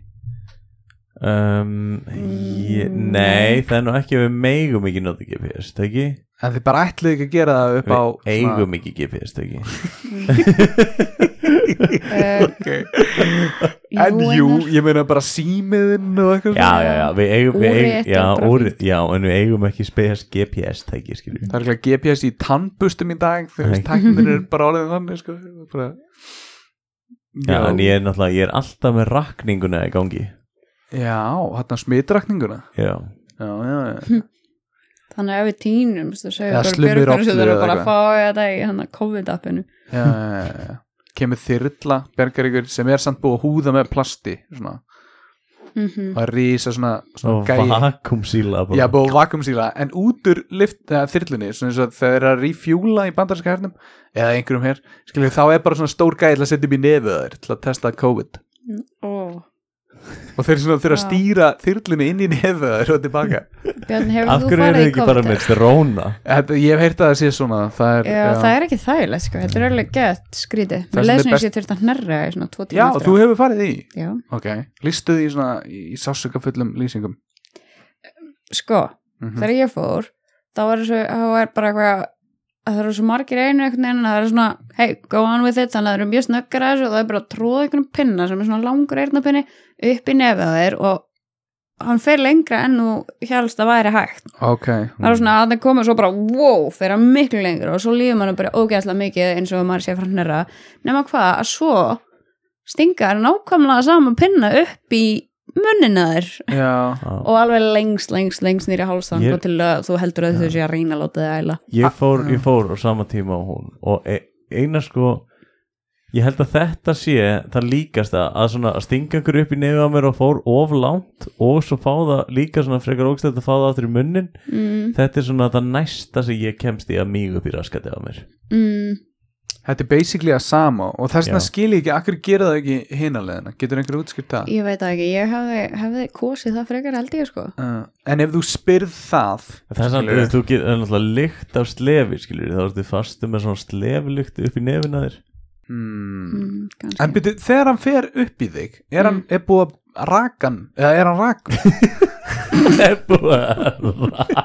Um, ég, nei, það er nú ekki að við meigum ekki nota GPS, það ekki?
En þið bara ætluðu ekki að gera það upp
Við
á
eigum ekki GPS, það ekki?
uh,
okay. En jú, ég meina bara símiðinn og eitthvað
Já, já, já, við eigum, við
Úrið
eigum
er
já,
bara
úr, já, en við eigum ekki spes GPS, það ekki, skiljum
Það er ekki GPS í tannbustum í dag Þú veist,
Nei.
tæknin er bara orðið þannig sko, bara...
Já, en ég er náttúrulega, ég er alltaf með rakninguna í gangi
Já, þarna smitrakninguna
Já,
Já, já, já
Þannig að ef við týnum þú segir
Eða
bara
slumir
björgur
ofnir
sem þurfa
eða
bara að
eitthvað.
fá þetta í hann að COVID-appinu
já, já, já, já. kemur þyrla bergar ykkur sem er samt búið að húða með plasti svona,
mm
og að rísa svona,
svo
svona gæi
vakumsýla
Já, búið að vakumsýla, en út úr lift, eða, þyrlunni, svona eins og þau eru að refjúla í bandarska hernum, eða einhverjum hér skilur þá er bara svona stór gæi til að setja upp í nefið á þér til að testa COVID
Ó,
og þeir svona þurfa að
Já.
stýra þyrlunni inn í nefið á þér og tilbaka
Björn, hefur
Af
þú
hverju eru
farið
þið
í
ekki bara með
COVID?
dróna?
Þetta, ég hef heyrt að það sé svona það er,
Já, það er ekki þægilegt sko, þetta er alveg gett skrítið.
sem
Mér leið
er best-
svona eins og ég þurft að hnerra í svona tvo tíma
já
eftir
þú
á.
hefur farið í
Já,
ok, listu því svona í sásökafullum lýsingum
sko,
mm
þegar ég fór, þá var þessu, þá var bara eitthvað, að það eru svo margir einu einhvern veginn, að það eru svona, hey, go on with it, þannig að það eru mjög snöggar að þessu og það er bara að tróða einhvern pinna sem er svona langur eirnapinni upp í nefið á þér og hann fer lengra enn þú hélst að væri hægt.
ok,
það er svona að það komið svo bara wow, fyrir að miklu lengur og svo líður mann bara ógeðslega mikið eins og maður sé frá hnera nema hvað að svo stingar nákvæmlega sama pinna upp í munnina þér
já,
Já.
og alveg lengst, lengst, lengst nýri hálsang
Ég-
og til að þú heldur að þau sé að reyna að láta þið æla
ég fór, ég fór á sama tíma og hún og e- eina sko ég held að þetta sé það líkasta að svona að stinga ykkur upp í nefið á mér og fór of langt og svo fá það líka svona frekar ógstætt að fá það aftur í munnin
mm,
þetta er svona það næsta sem ég kemst í að mígu upp í raskati á mér
mm,
þetta er basically að sama og þess vegna
Já.
skil ég ekki, akkur gera það ekki hinalegina, getur einhver útskýrt það
ég veit það ekki, ég hefði, hefði kosið það frekar held ég sko
uh, en ef þú spyrð það
það er samt,
skilurðu,
þú getur það er náttúrulega lykt af slefi skilur, þá ertu fastu með svona slefilykt upp í nefina þér
mm,
mm, kannski.
en byrju, þegar hann fer upp í þig er hann,
Hmm.
er búið að rakan eða er hann rakan
það er búið að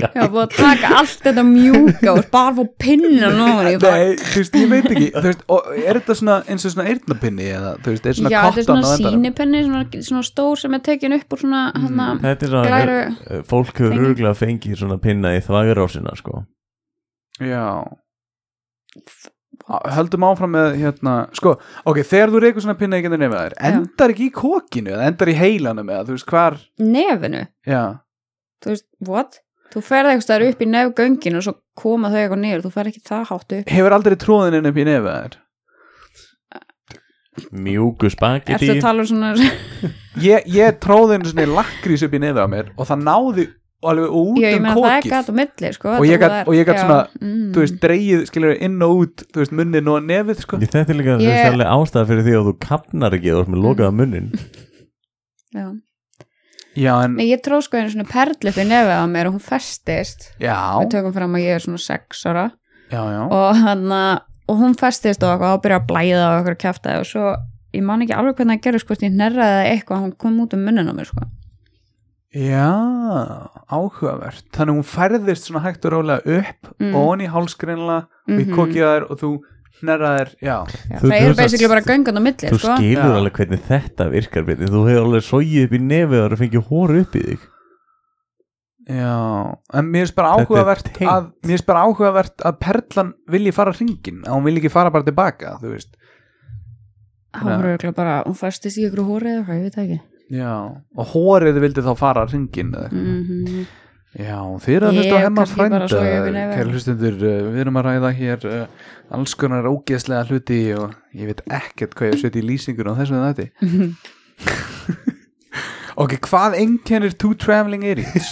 Já, búið að taka allt þetta mjúka og bara fór pinna núna ég bara,
Nei, þú veist, ég veit ekki þú veist, og er þetta svona eins og svona eyrnapinni eða, þú veist, er svona
Já, þetta er
kottan
svona
á endanum?
sínipenni svona, svona stór sem er tekin upp úr svona hana,
Mm.
þetta er svona Eh,
glæru
fólk hefur
Fengi.
örgulega fengið svona pinna í þvagurásina sko
Já Höldum áfram með hérna Sko, ok, þegar þú reykur svona pinna ekki nefnir þær Endar ekki í kokinu eða endar í heilanum eða þú veist hvar
nefinu,
Já,
þú veist, what? Þú ferði eitthvað staðar upp í nefgöngin og svo koma þau eitthvað niður, þú ferði ekki það hátt upp
hefur aldrei tróðin inn upp í nefnir þær
mjúku spagetti
Ertu að tala um svona
Ég, ég tróði einu svona lakrís upp í nefnir á mér og það náði alveg út
Já, ég
um
meina það er
kokið
gæt á milli sko,
Og ég
þetta
gat-
var-
og ég gat
já,
svona,
mm.
Þú veist, dreigið, skilur inn og út Þú veist, munnin og nefið, sko
Ég, þetta er líka
Ég- Mm.
yeah. sérlega ástæða fyrir því að þú kapnar ekki og þú ert með lokaða munnin
já.
Já, en,
Nei, ég tróð sko einu svona perlu upp í nefið á mér og hún festist Við
já,
tökum fram að ég er svona sex ára
já, já
og hann og hún festist og eitthvað og byrja að blæða og eitthvað kæfta og svo ég man ekki alveg hvernig það gerði sko hvort ég nerraði eða eitthvað hún kom út um munnin á mér sko
Já, áhugavert Þannig að hún færðist svona hægt og rólega upp
Mm.
mm. Ón í hálsgreinlega mm -hmm. Við
Mhm.
kokið þær og þú nærraðir Já,
Já, það
Þú- þú
eru
veist að-
basically bara göngan á milli
Þú
sko
skilur
Já.
alveg hvernig þetta virkar beinni. Þú hefur alveg sogið upp í nefið og fengið hóru upp í þig
já En mér finnst bara
Þetta er
áhugavert
tengt.
að, Mér finnst bara áhugavert að Perlan vilji fara hringin að hún vilji ekki fara bara tilbaka Þú veist
hún var örugglega bara, hún festist í ykkur hóri eða hvað, ég veit það ekki
Já, og hórið vildi þá fara hringin eða eitthvað.
Mhm.
Já, þið eru að
Ég
hlusta á hemmar
kannski bara
frænda
svo ég ekki nefna.
Kæri hlustendur, uh, við erum að ræða hér uh, alls konar ógeðslega hluti og ég veit ekkert hvað ég að setja í lýsingur á þessu en þetta Ok, hvað einkennir Two Traveling Idiots?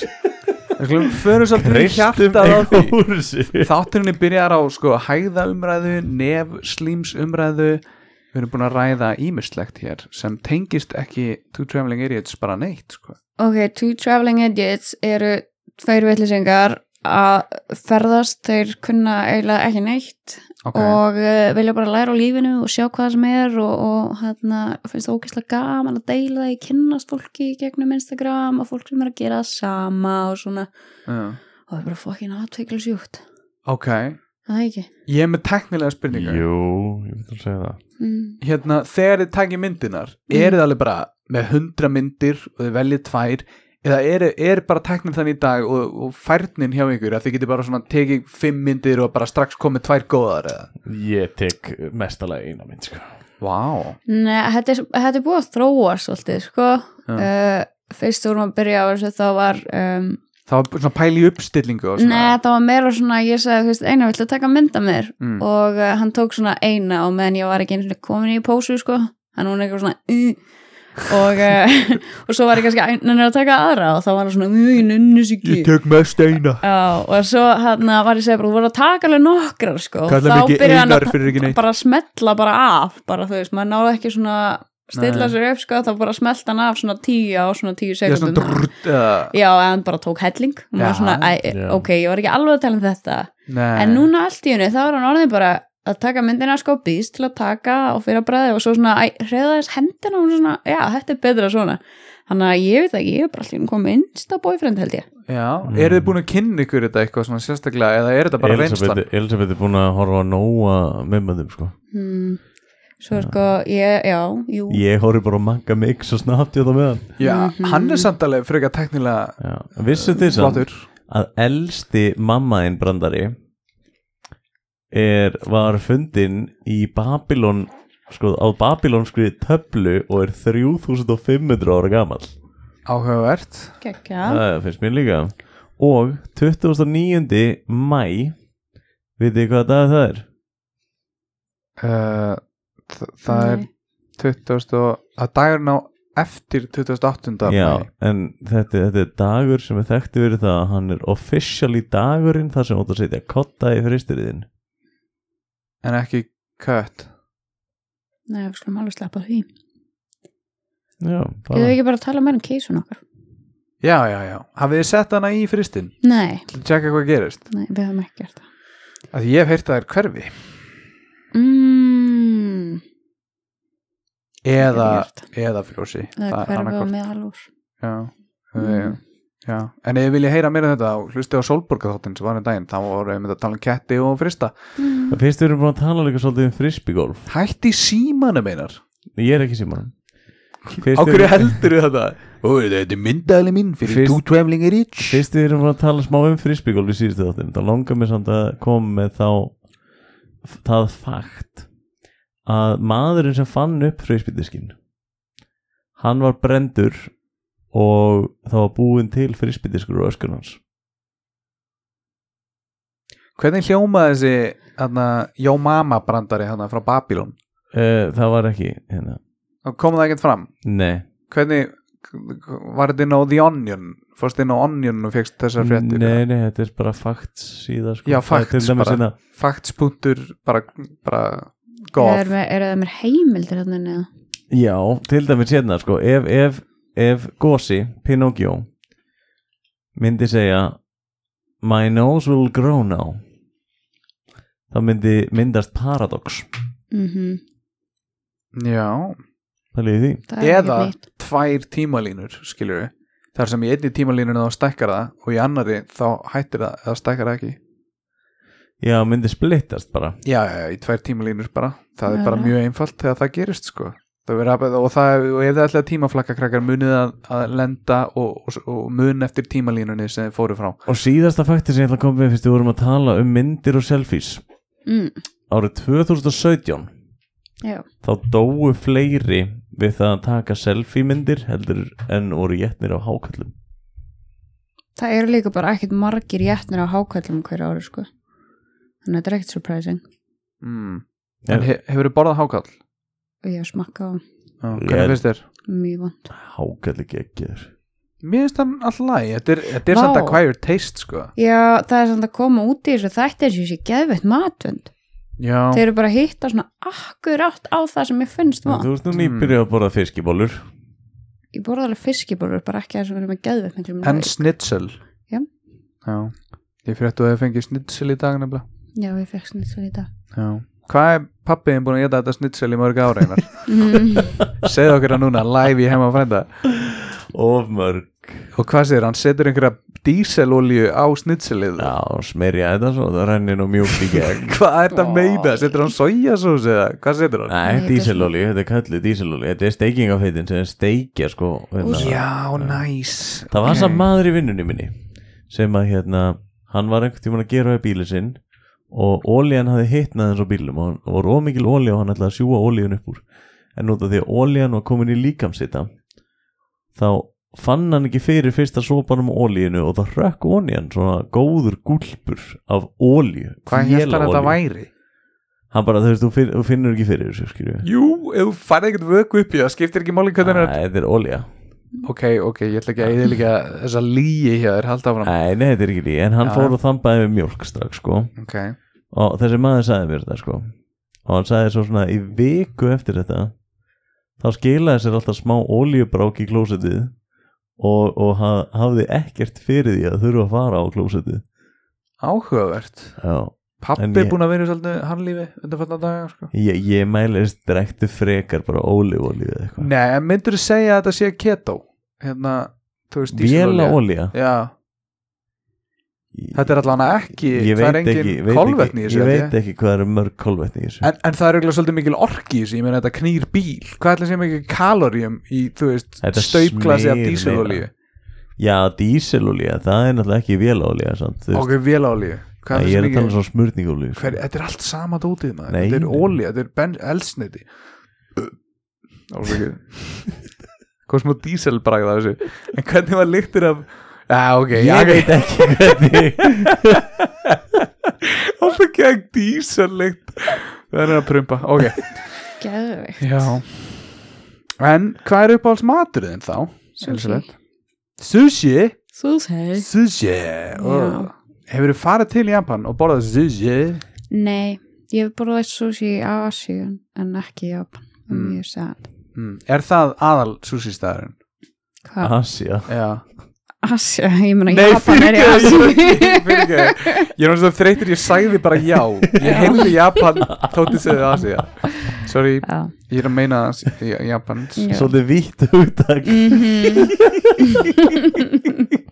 Við skulum förum svolítið í hjartað á því
úr sig
Þátturinni byrjar á sko hæðaumræðu, nef, slímsumræðu Við erum búin að ræða ímislegt hér sem tengist ekki Two Traveling Idiots bara neitt sko.
ok, two traveling idiots eru tveir vitlisingar að ferðast, þeir kunna eiginlega ekki neitt
Ok,
og uh, vilja bara læra á lífinu og sjá hvað sem er og, og hérna, finnst það ógeðslega gaman að deila það í kynnast fólki í gegnum Instagram og fólk sem er að gera það sama og svona,
já.
og það er bara fokkin aðtvekla sjúkt,
ok
það er ekki
Ég er með teknilega spurningar
Jú, ég veit að segja það
mm.
Hérna, þegar þið takir myndinar mm. eru þið alveg bara með hundra myndir og þið veljið tvær eða er, er bara teknin þannig í dag og, og færnin hjá ykkur að þið getur bara svona tekið fimm myndir og bara strax komið tvær góðar eða
Ég tek mestalega eina mynd sko.
Vá
Nei, þetta er, þetta er búið að þróa svolítið, sko
Já.
uh, fyrst vorum að byrja á þessu þá var um,
Það var svona pæli í uppstillingu og svona
Nei, það var meira svona, ég sagði, þú veist, eina viltu taka mynda mér
Mm.
og uh, hann tók svona eina og meðan ég var ekki einu svona komin í pósu, sko, hann var eitthvað svona uh, og, uh, og svo var ég kannski einan að taka aðra og þá var hann svona, mjög nunnis ekki
Ég tök mest eina
Já, og svo hann var ég segja bara, þú voru að taka alveg nokkrar, sko og
Kallar
þá
mig ekki
byrjaði hann
einar
að
fyrir ekki neitt
bara smetla bara af, bara þú veist, maður náði ekki svona stilla
Nei.
sér upp, sko, þá bara smelta hann af svona tíu á svona tíu
Ég er svona
sekundum
drrrt eða-
Já, en hann bara tók helling og maður
Já.
svona, æ, e,
Já.
ok, ég var ekki alveg að tala um þetta
Nei.
en núna allt í henni, þá er hann orðin bara að taka myndina sko býst til að taka og fyrir að bræði og svo svona, æ, hreða þess hendina og hún svona, já, þetta er betra svona þannig að ég veit ekki, ég er bara allir komið insta boyfriend held ég
Já,
Mm.
eru þið búin að kynna ykkur þetta eitthvað svona sérstaklega eða er þetta bara reynslan?
Elisabeth, Elisabeth er búin að horfa á nóa mimmöndum sko.
hmm. svo sko, ég, já, jú
Ég horfi bara að manga mig svo snabbt ég það meðan
Já,
Mhm.
hann er samt alveg frekar teknilega
Já. Vissu þið samt
flottur
að elsti mammaðin brandari er, var fundin í Babylon sko, á Babylonskri töflu og er 3500 ára gamall
áhugavert
Gekka.
það finnst mér líka og 29. mæ vitið þið hvað dag það er?
uh, þ- það er 20 og, að dagurinn á eftir 28.
Já,
maí.
en þetta, þetta er dagur sem er þekkti verið það að hann er officially dagurinn þar sem átt að setja kotta í fristiriðin
en ekki kött
Nei, við skulum alveg sleppa því
Já,
Getum við
bara
ekki bara að tala meira um keisun okkar?
já, já, já, hafið þið sett hana í fristin
Nei,
til að tjekka hvað gerist
nei, við höfum ekki gert það
að ég hef heyrt að það er hverfi
mm,
eða,
gert.
eða frjósi
Það er hverfi og meðalúr
já,
Mm.
mm. já. en ef þið viljið heyra meira um þetta þá hlustið á Solborga þáttinn sem var um daginn þá voru við að tala um ketti og frista
mm.
Fyrst við erum búin að tala líka svolítið um frisbygolf
hætti símanum einar
Ég er ekki símanum Fyrst
á
við-
hverju heldur þið þetta
Ó, þetta er myndæli mín fyrir
Fyrst-
Two Traveling Rich
Fyrst við erum búin að tala smá um frisbygolf í síðustu þáttum þá langar mér samt að koma með þá það fakt að maðurinn sem fann upp frisbydiskin hann var brendur og það var búin til frisbydiskur og öskun hans
hvernig hljómaði þessi hana, Jó Mama brandari hana frá Babylon
uh, það var ekki hérna.
og kom það ekkert fram
Nei,
hvernig var þetta inn á The Onion fórst inn á Onion og fegst þessar fréttir
nei, nei, þetta er bara fakt síða sko.
Já,
Það er til
facts
dæmis
bara.
hérna-
faktspunktur bara, bara
Er
góð
það mér heimildir hérna neða?
Já, til dæmis hérna sko, ef, ef, ef Gossi, Pinocchio myndi segja My nose will grow now þá myndi myndast paradox
Mm
já,
Það líði því
Það er
Eða-
ekki nýtt
tvær tímalínur skilur við, þar sem í einni tímalínur þá stækkar það og í annari þá hættir það eða stækkar það ekki
Já, myndi splittast bara
já, já, já, í tvær tímalínur bara það er
Já,
bara
já.
mjög einfalt þegar það gerist sko Það er að- og, það, og ef þið ætlaði tímaflakka krakkar munið að, að lenda og, og, og mun eftir tímalínunni sem þið fóru frá
Og síðasta fakti sem ég ætla að koma með fyrst við vorum að tala um myndir og selfies
mm,
Árið 2017
Já,
þá dóu fleiri við það að taka selfie myndir heldur en voru jætnir á hákallum
það eru líka bara ekkert margir jætnir á hákallum hverju ári sko Þannig að þetta er ekkert surprising
mm.
Já.
en he, hefur þið borðað hákall?
og ég smakka á
Já,
Ég-
hvernig finnst þér?
mjög vond
Hákall ekki ekki þér
Mér finnst hann alltaf læg, þetta er, þetta er
Vá.
samt acquired taste sko
Já, það er samt að koma út í þessu þætti eins og ég sé geðveitt matvönd
Já,
Þeir eru bara að hitta svona akkurátt á það sem ég finnst
Þú
vond
veist nú nýbyrjuð að borða fiskibólur
Ég borða alveg fiskibólur, bara ekki það sem verður með geðveitt miklum
en
lauk.
snitsel
Já.
Já, ég fyrir að þú hefði fengið snitsel í dag nefnilega
Já, ég fekk snitsel í dag
Já Hvað er pappiðin búin að geta þetta snitsel í mörg ára einar?
mm,
Mm-hmm. Segð okkur það núna, live í heima frænda
Of mörg
Og hvað segir, hann setur einhverja díselolju á snitselið
Já, smerja þetta svo, það rennir nú mjúkt í gegn
Hvað er þetta að meina? Setur hann sojasós eða? Hvað setur hann?
Nei,
Nei,
díselolíu, þetta er kallið díselolíu Þetta er steikingafeitin sem er steikja sko hérna.
Já, næs
Það var samt maður í vinnunni minni sem að hérna, hann var einhvern tímann að gera við bílinn sinn og ólíjan hafði hitnað eins og bílum og hann og var ómikil ólíja og hann ætlaði að sjúga ólíjan upp úr en út af því að ólíjan var komin í líkamsita þá fann hann ekki fyrir fyrsta sopanum ólíjunu og það hrökk ólíjan svona góður gúlpur af ólíju
Hvað hérst hann að þetta væri?
hann bara, þú veist, þú, finn, þú finnur ekki fyrir þessu, skilju
Jú, ef þú færði ekkert vöku upp í það, skiptir ekki máli hvernig hann er
þetta er olja
Ok, ok, ég ætla ekki að eðilega þessa líi hjá þér, halda áfram
Nei, nei, þetta er ekki líka, en hann
Já.
fór og þambaði með mjólk strax, sko
Ok,
og þessi maður sagði mér þetta, sko og hann sagði svo svona, í viku eftir þetta þá skilaði sér alltaf smá oljubrák í klósetið og, og ha, hafði ekkert fyrir því að þurfa að fara á klósetið
áhugavert
Já, En
Pappi
ég-
er búin að vera í svolítið harnlífi undanfætna daga sko.
ég, ég mælist drektu frekar bara olífolíu eða eitthvað
Nei, en myndur þú segja að þetta sé keto hérna, þú veist,
Véla
dísilolía?
olía
Já, þetta er allan ekki
Ég
það
veit
er engin
ekki, veit
kolvetni í
ekki,
þessu
Ég
held
veit ekki hvað er mörg kolvetni í þessu
En, en það er auðvitað svolítið mikil orki í þessu, ég meina þetta knýr bíl hvað ætla sem ekki kaloríum í, þú veist,
Þetta
staupglasi af
smyr
dísilolíu
meira. Já, díselolía, það er náttúrulega ekki vélaolía samt, þú
og
veist,
vélolíu
Nei,
hvað er
ég er
það sem
að tala um
ekki
svo smurningolíu
hver, þetta er allt sama dótið maður,
Nei,
þetta er
nei.
ólíu, þetta er ben, elsniti Álfrikið Hvað smá dísel bragða þessu En hvernig var lyktir af Já, ok,
Ég veit ekki hvernig
Álfrikið er dísel lykt Það er að prumpa, ok
Geðveikt.
Já En hvað er uppáhalds maturðin þá? Sjálfsagt Sushi
Sushi.
Sushi oh. Hefur þú farið til Japan og borðað sushi?
Nei, ég hef borðað sushi í Asíun en ekki í Japan.
Mm.
Mjög sætt.
Mm. Er það aðal sushi staðurinn?
Hvað?
Asja
Já
Asja, ég meina
Nei,
Japan er í
fyrirgefðu,
Asíu.
fyrirgefðu. Ég er náttúrulega þreytir, ég sagði bara já Ég heyrði Japan, þótti segði Asia Sorry,
Já.
ég er að meina Asi- Japan
Já.
Svolítið vítt hugtak
Mhm.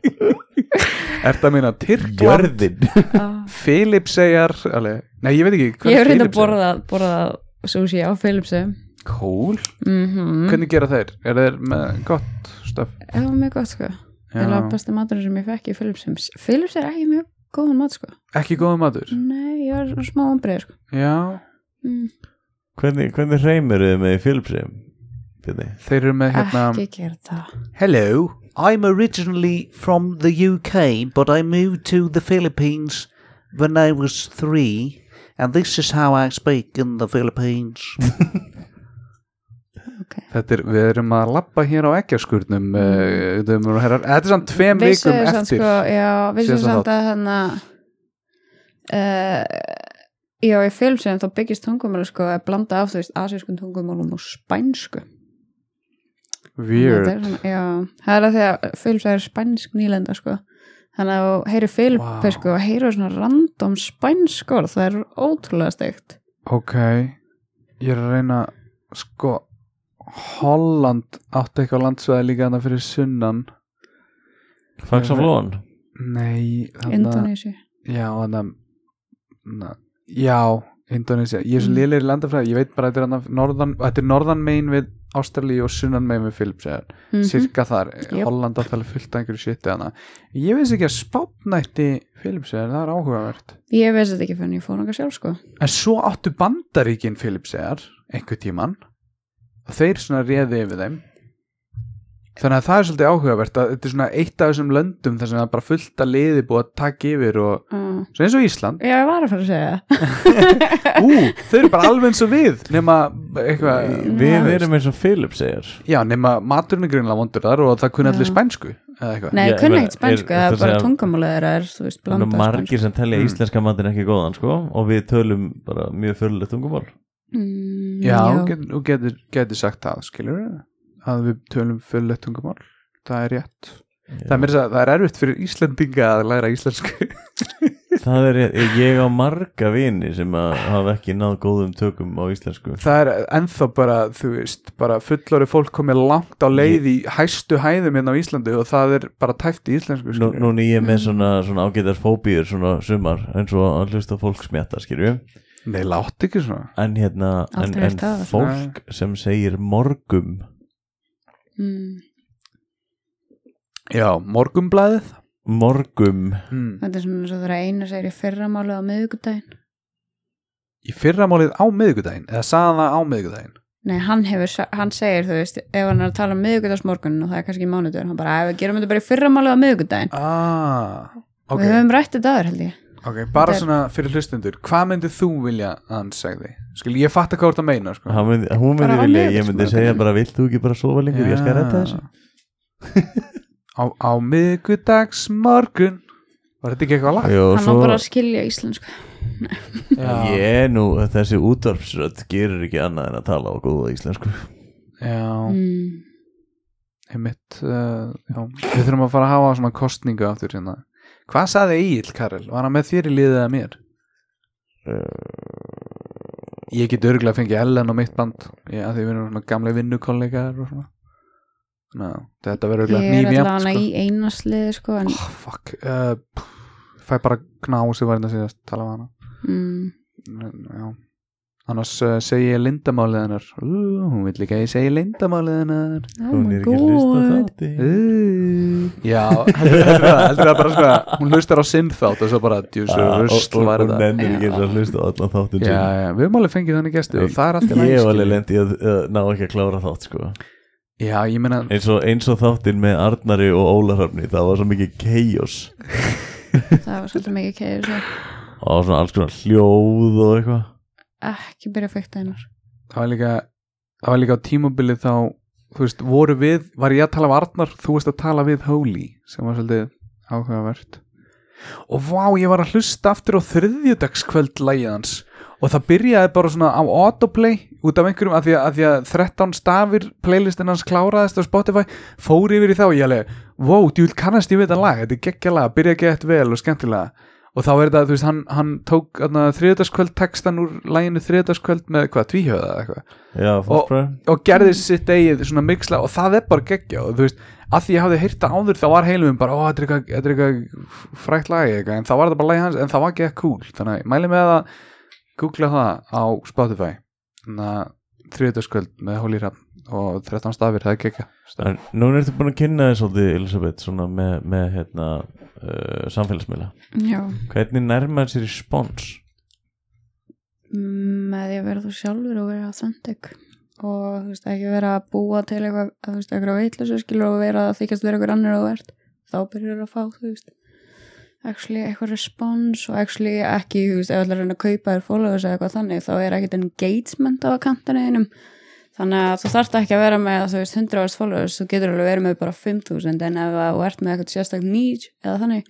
Er það að meina Tyrkland,
Jörðin
Já.
Filipseyjar alveg. Nei, ég veit ekki hvað
Ah. Ég hef
er
reynda að
Filippseyjar?
borða, borða sushi á Philipsu.
Cool,
Mhm.
hvernig gera þeir? Er þeir með gott stöf?
Það var mjög gott sko. Það var besta maturinn sem ég fekk í Philipsum. Philips er ekki mjög góðan mat sko.
Ekki góða matur?
Nei, ég var smá ombrið sko.
Já,
Mm.
Hvernig, hvernig hreimur þið með fylpsreim? Björni
þeir eru með hérna
Ekki gera það.
Hello, I'm originally from the UK, but I moved to the Philippines when I was three, and this is how I speak in the Philippines.
Þetta er, við erum að labba hér á ekkjaskurnum mm. uh, herrar, Þetta er samt tveim
Vissu
vikum
þau samt,
eftir
sko, já, vissu
Síðasta
samt
þátt.
að þannig að já, í film sem þá byggist tungumál sko, að blanda af þú veist asískun tungumálum og spænsku
Weird
Það er svona, já, það er að því að Philips er spænsk nýlenda sko þannig að þú heyrir Philips
Vá.
sko og heyrir svona random spænsk orð það er ótrúlega steikt
Ok, ég er að reyna sko Holland átti eitthvað landsvæði líka þarna fyrir sunnan
Faxaflón
Nei, þarna
Indonési
Já, þarna na- Já, Indonesia Ég er svo
Mm.
lélir í landafræði, ég veit bara að þetta er þarna norðan, þetta er norðan megin við Ástralíu og sunnan megin við Philips mm
mm
Cirka þar,
Jöp.
Holland átti alveg fullt af einhverju shiti þarna Ég veist ekki að spáttnætti Philips er, það er áhugavert
Ég veist þetta ekki fyrir ég fór nokkað sjálf sko
En svo áttu bandaríkin Philipseyjar einhver tíman og þeir svona réði yfir þeim þannig að það er svolítið áhugavert að þetta er svona eitt af þessum löndum þar sem það er bara fullt að liði búið að taka yfir og
uh,
svo eins og Ísland
Já, ég var að fara að segja það
Ú, þau eru bara alveg eins og við nema eitthvað
Við erum eins og fylpsreir
Já, nema maturinn er greinlega vondur þar og það kunni
Já.
allir spænsku eða eitthvað
Nei,
Ég-
ég kunni
ég-
ekkert spænsku,
ég-
það
þetta
er bara
segja-
tungumálið þeirra er, þú veist,
Nú,
blandað
margir sem telja
Mm.
íslenska matinn ekki góðan sko og við tölum bara mjög fyrirlega tungumál
Mm,
Já, þú get- þú getur, getur sagt það, skilur að við tölum fullett tungumál það er rétt það er, meira að segja- það er erfitt fyrir Íslendinga að læra íslensku
Það er ég, ég á marga vini sem að hafa ekki náð góðum tökum á íslensku
það er ennþá bara, þú veist, bara fullori fólk komið langt á leið í hæstu hæðum hérna á Íslandu og það er bara tæft í íslensku
Nú,
skilurðu.
Núna ég er með svona, svona ágætar fóbíur svona sumar eins og að hlusta á fólk smjata skilju
Nei, látt ekki svona
en hérna en,
Aldrei
en
heyrt áður.
fólk sem segir morgum
Mm,
Já, morgumblæðið
morgum
mm.
þetta er svona eins og þeirra einu segir í fyrramálið á miðvikudaginn
Í fyrramálið á miðvikudaginn eða sagði það á miðvikudaginn
Nei, hann, hefur, sa- hann segir, þú veist, ef hann er að tala um miðvikudagsmorgun og það er kannski mánudagur hann bara, ef við gerum þetta bara í fyrramálið á miðvikudaginn
Ah, ok,
Við höfum rætt þetta aður, held ég
ok, bara
Þetta er-
svona fyrir hlustundur Hvað myndið þú vilja að hann segði? Skil, ég fatt að hvað þú ert að meina sko.
Hann myndi, hún myndi
Bara á
vilja, ég myndi
miðvikudagsmorguninn.
segja bara vilt þú ekki bara sofa lengur, ég skal redda þessu
Á, á miðvikudagsmorgun Var þetta ekki eitthvað lag?
Jó,
Hann
svo,
var bara að skilja íslensku
ég nú, þessi útvarpsrödd gerir ekki annað en að tala á góða íslensku
Já,
mm.
einmitt uh, já. við þurfum að fara að hafa svona kostningu aftur hérna. hvað saði Egil Karel var hann með þér í liðið að mér ég get örgulega að fengja Ellen og mitt band já, því við erum svona gamle vinnukollegar og svona Ná, þetta verður
Ég
örgulega
er
nýmjönd
allavega
sko.
í einasliði, sko en,
oh, fuck uh, pff, fæ bara gná sem var hérna síðast tala við hana
mm,
En, já. annars uh, segi ég lindamálið hennar uh, hún vil líka að ég segi lindamálið hennar
Oh
Hún er ekki að hlusta þátti
uh. já, heldur heldur það heldur það bara svona, hún hlustar á sinnþátt og svo bara djúsu
Ah, og-
rusl
og-
var
Hún
það
nennir ekki eins og að hlusta á allan þáttin
já,
sinn
já, við höfum alveg fengið þannig gesti og það er alltaf
Ég hef alveg lendi að uh, ná ekki að klára þátt sko
já, ég meina,
eins og, eins og þáttinn með Arnari og Ólarhafni það var svo mikið chaos
það var svolítið mikið kæður
það var svona alls konar hljóð og eitthvað
ekki byrja að fækta hennar
það var líka það var líka á tímabilið þá þú veist, voru við, var ég að tala við Arnar þú veist að tala við Holy sem var svolítið áhugavert og vá, ég var að hlusta aftur á þriðjudagskvöld lægiðans og það byrjaði bara svona á autoplay út af einhverjum, af því að, að, því að 13 stafir playlistin hans kláraðist á Spotify fór yfir í þá, ég alveg wow, djúl kannast ég við þetta lag, þetta er geggja lag byrja að geta vel og skemmtilega og þá er þetta, þú veist, hann, hann tók þriðjudagskvöld textan úr læginu þriðjudagskvöld með hvað, tvíhjöða eða eitthvað
já,
Og-
fólk bara
og gerði sitt eigið svona mixla og það er bara geggja og þú veist, að því ég hafði heyrta áður þá var heilum minn bara, ó, þetta er eitthvað- þetta er eitthvað frækt lagi eitthvað, en það var þetta bara lagi hans en það var ekki cool, þannig að ég mæli með að googla það á Spotify þannig að þriðutaskvöld með Hóli Rapp og 13 stafir, það er geggja
en núna ertu búin að kynna þér svolítið Elisabeth svona með, með hérna, uh, samfélagsmiðla
já,
hvernig nærmaður sér í spons
með því Mm, að vera þú sjálfur og vera authentic og þú veist ekki vera að búa til eitthvað að þú veist eitthvað veitlösa skilur og vera að þykjast vera eitthvað annar og verð þá byrjar að fá þú veist actually eitthvað respons og actually ekki þú veist ef allar reyna að kaupa þér followers eða eitthvað þannig þá er ekkit engagement á kantinu einum þannig að þú þarft ekki að vera með þú veist 100.000 followers þú getur alveg verið með bara 5.000 en ef að þú ert með eitthvað sérstakt nýj eða þannig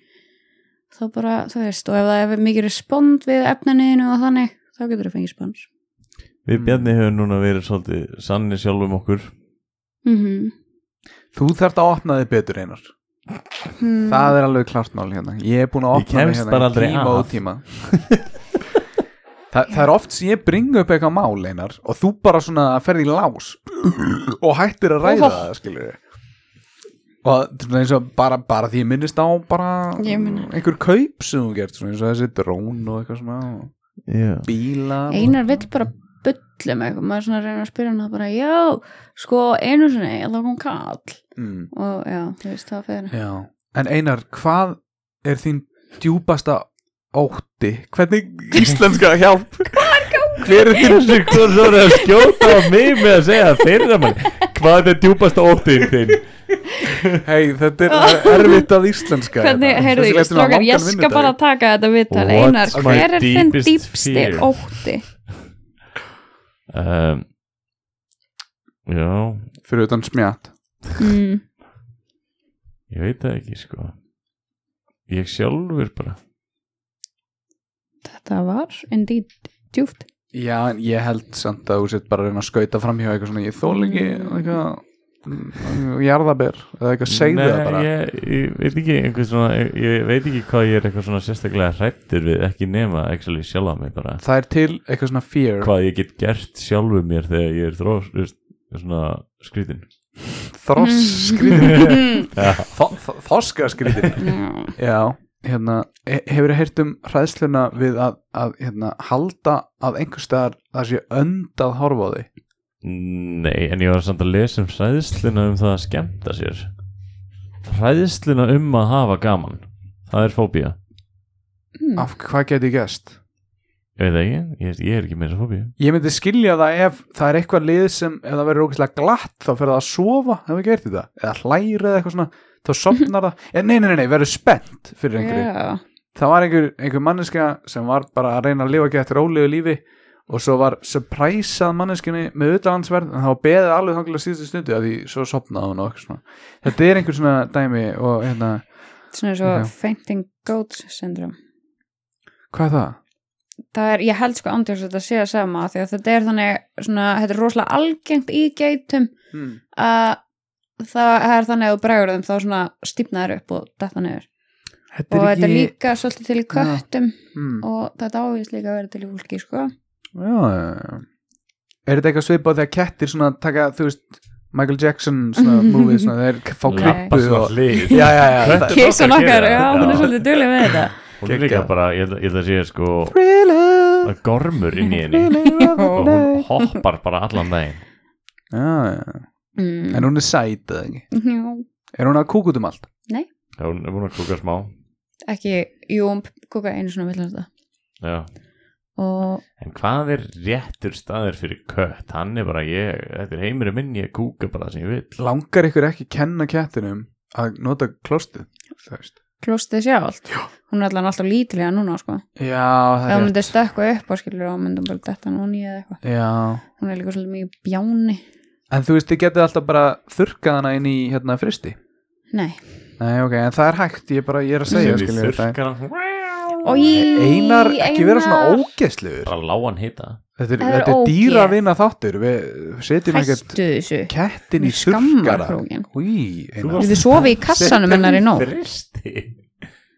þá bara, þú veist, og ef það er mikið respond við efniniðinu og þannig, þá getur það fengið spons.
við Bjarni hefur núna verið svolítið sannir sjálfum okkur
Mm
Þú þarft að opna þig betur einar það er alveg klart mál hérna ég er búin að opna
Ég
mig
kemst
hérna
bara
í
aldrei
tíma
að.
og tíma Þa, það er oft sem ég bring upp eitthvað mál einar og þú bara svona ferði í lás og hættir að ræða það skilur við og þetta er svona eins og bara, bara því ég minnist á bara
Ég meina.
einhver kaup sem þú gert svona eins og þessi drón og eitthvað svona og
já,
bíla
Einar vill bara bullu með eitthvað, maður svona reynir að spyrja hann það bara, já, sko, einu sinni, ég þá kom kall.
mm,
Og já, þú veist, það fer.
já. en Einar, hvað er þín djúpasta ótti hvernig íslenska hjálp
hver er þín sem þú svo er að skjóta á mig með að segja þeirra manni hvað er það djúpasta óttinn þinn
Hei, þetta er erfitt að íslenska hérna.
Hvernig, heyrðu, strókar, ég skal bara taka þetta viðtal.
What's
Einar,
my
hver er þinn
deepest
dýpsti
fear?
ótti?
um, já,
Fyrir utan smjátt
Mm.
Ég veit það ekki sko Ég sjálfur bara
Þetta var indeed djúft.
Já, en ég held samt að þú sett bara að reyna að skauta fram hjá eitthvað svona Ég þól ekki eitthvað mm, jarðaber eða eitthvað segðu það bara
ég, ég veit ekki einhver svona ég, ég veit ekki hvað ég er eitthvað svona sérstaklega hrættur við ekki nema actually sjálfa mig bara
Það er til eitthvað svona fear
hvað ég get gert sjálfu mér þegar ég er þrós veist, svona skrítin
Þross skrýtin Þoska skrýtin
Já.
Já, hérna he- Hefur þið heyrt um hræðsluna við að, að hérna, halda að einhvers staðar það sé önd að horfa á því
Nei, en ég var samt að lesa um hræðsluna um það að skemmta sér hræðsluna um að hafa gaman það er fóbía
Mm.
Af hvað geti gæst?
Ég veit það ekki, ég, ég er ekki með þessa fóbía
Ég myndi skilja það ef það er eitthvað lið sem ef það verður ógeðslega glatt þá fer það að sofa ef við gert þetta eða hlæra eða eitthvað svona þá sopnar það en nei, nei, nei, nei, verður spennt fyrir einhverju
Já.
það var einhver, einhver manneska sem var bara að reyna að lifa gett rólegu lífi og svo var surprisað manneskinni með utlandsverð en það var beðið alveg þangilega síðustu stundu að því svo sopnaði hún og eitthvað svona þetta er einhver svona dæmi og hérna
Svona svo
Já.
fainting goat syndrome.
hvað er það?
það er, ég held sko andjóks að þetta sé að sama af því að þetta er þannig svona, þetta er rosalega algengt í geitum
Hmm.
að það er þannig að þú bregur þeim þá svona stífnaður upp og detta niður
Þetta
og
er
þetta er
ekki
líka svolítið til í köttum
Hmm.
og þetta ávist líka að vera til í fólki sko.
Já, já, já. Er þetta eitthvað svipað þegar kettir svona taka, þú veist, Michael Jackson svona movie, svona þeir k- fá
Labba
klippu
svona
og...
hlið
Já, já, já, það-
Köttur
kissan
okkar
okkar,
gera
já,
það,
hún er
já.
svolítið dugleg með þetta
hún er líka
Geggjað.
bara, ég held- ég held að sé sko
Thriller
að gormur inn í henni og hún hoppar bara allan daginn
já, já.
mm.
en hún er sæt eða ekki
Já,
er hún að kúka út um allt
Já, hún er búin að kúka smá
ekki, jú, hún kúka einu svona villan þetta
Já.
og
en hvað er réttur staður fyrir kött hann er bara ég, þetta er heimurinn minn ég kúka bara það sem ég vil
langar ykkur ekki kenna kettinum að nota klostið þú veist.
klostið sjálft hún er allan alltaf lítilega núna sko
já, það
ef hún
er rétt
myndi stökkva upp á skilur og myndum bara detta núni eða eitthvað
já.
hún er líka svolítið mikið bjáni
en þú veist, þið getið alltaf bara þurkað hana inn í hérna fristi
nei,
Nei, ok, en það er hægt, ég, bara, ég er að segja
Sem
skilur,
við
það er-
þurrkar hann
og ég
Einar, ekki vera svona ógeðsluður
bara lá hann hita
Þetta er,
Það er
þetta er
ógeð.
dýravina þáttur Við setjum ekkert
hættu þessu
kettin í
Hún skammar
þurrkara
krókinn.
Í, Einar.
Þú sofi í kassanum hennar í nótt
fristi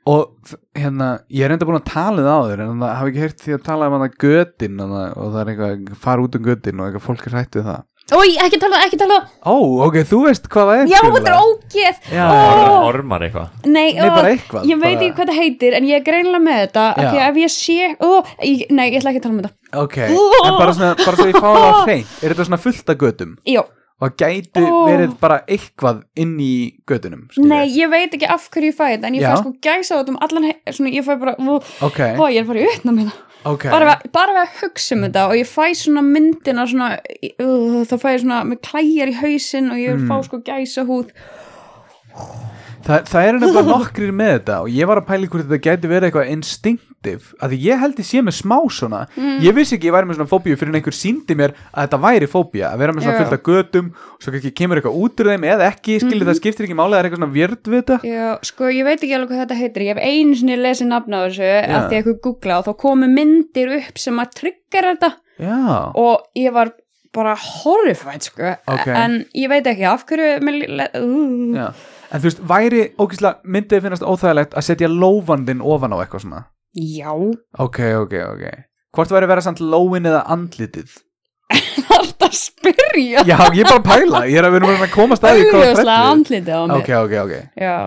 og f- hérna, ég er enda búin að tala það áður en það hafi ekki heyrt því að tala um hana götin og það, og það er eitthvað fara út um götin og eitthvað fólk er hrætt við það
Ói, ekki tala, ekki tala
Ó, ok, þú veist hvað það er
Já,
skilurðu.
þetta er ógeð
Ormar- ormar eitthvað
Nei,
Nei,
ó,
bara eitthvað,
Ég veit
bara-
ekki hvað það heitir en ég er greinlega með þetta af
Já.
því að ef ég sé ó, ég, Nei, ég ætla ekki að tala um þetta
Ok, en bara, svona, bara svo ég fá það á hrein er þetta svona fullt af götum
Jó,
og það gæti
Ó.
verið bara eitthvað inn í götunum skilurðu.
nei, ég veit ekki af hverju ég fæ þetta en ég
Já.
fæ sko gæsa á þetta um allan he- svona, ég fæ bara, ó,
Ok,
ó, ég er bara í utna með það
ok
bara, við- bara við að hugsa um þetta og ég fæ svona myndina svona, uh, þá fæ ég svona með klæjar í hausinn og ég mm. fá sko gæsa húð
Þa, það eru nefnilega nokkrir með þetta og ég var að pæla í hvort þetta gæti verið eitthvað instinktiv að því ég held ég sé með smá svona
Mm.
ég vissi ekki ég væri með svona fóbíu fyrir en einhver síndi mér að þetta væri fóbía að vera með svona
Já.
fullt af götum og svo kannski kemur eitthvað út úr þeim eða ekki, skilur
Mm-hmm.
það skiptir ekki máli það er eitthvað svona vjörd við þetta
Já, sko, ég veit ekki alveg hvað þetta heitir. Ég hef einu sinni lesið nafna á þessu
Já.
af því að eitthvað googla og þá komu myndir upp sem að tryggar þetta
Já,
og ég var bara horrified, sko.
Ok.
En ég veit ekki af hverju... mér lí- le- Uh,
Já. En þú veist, væri ógislega myndið finnast óþægilegt að setja lófandinn ofan á eitthvað svona
já,
Ok, ok, ok Hvort væri vera samt lóin eða andlitið?
það er alltaf að spyrja.
Já, ég er bara að pæla, ég er að við erum að komast að því hvað það
Augljóslega
brellur.
andlitið á mér.
Ok, ok, ok
Já,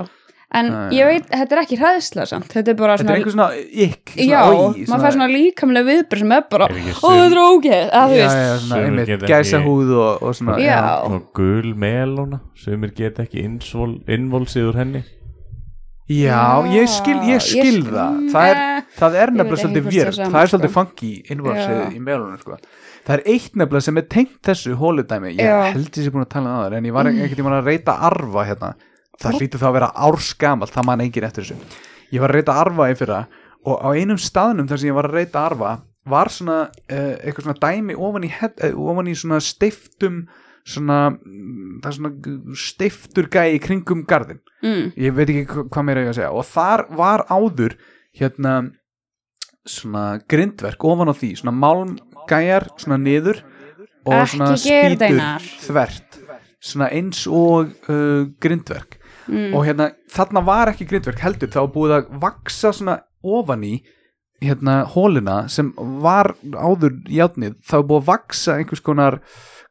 en
Já,
ég veit, þetta er ekki hræðsla samt. Þetta er bara
Þetta
svona...
er einhver svona ykk svona,
já,
oi,
maður fær svona líkamlega viðbröð sem er bara,
Er ekki
ó, þetta er ógeð, að þú
já,
veist.
já, svona
Sumir
einmitt
geta
gæsa
ekki-
húð og, og svona
Já,
og gul melóna sem er geta ekki innvolsið úr henni
já ég skil,
Já,
ég skil
skil-
það það er,
Eh,
það er
veit
nefnilega
ekki
svolítið
hvort það er
vjörn
sama,
það er
sko.
svolítið funky innvarsið
Já.
í meðlunum sko. það er eitt nefnilega sem er tengt þessu hóludæmi, ég
Já. Mm.
held ég sé búin að tala um það áður, en ég var ekkert tíma að reyta arfa hérna það hlýtur þá að vera ársgamalt það man engin eftir þessu ég var að reyta arfa í fyrra og á einum staðnum þar sem ég var að reyta arfa var svona uh, eitthvað svona dæmi ofan í, hell, uh, ofan í svona steiftum svona, mm, það er svona steiftur gæi í kringum garðin
Mm,
ég veit ekki hva- hvað mér er að segja og þar var áður hérna svona grindverk ofan á því, svona málmgæjar svona niður og
Ekki
svona
gera þetta,
spýtur
Einar.
þvert svona eins og uh, grindverk
mm.
og hérna þarna var ekki grindverk heldur þá var búið að vaksa svona ofan í hérna hóluna sem var áður játnið þá var búið að vaksa einhvers konar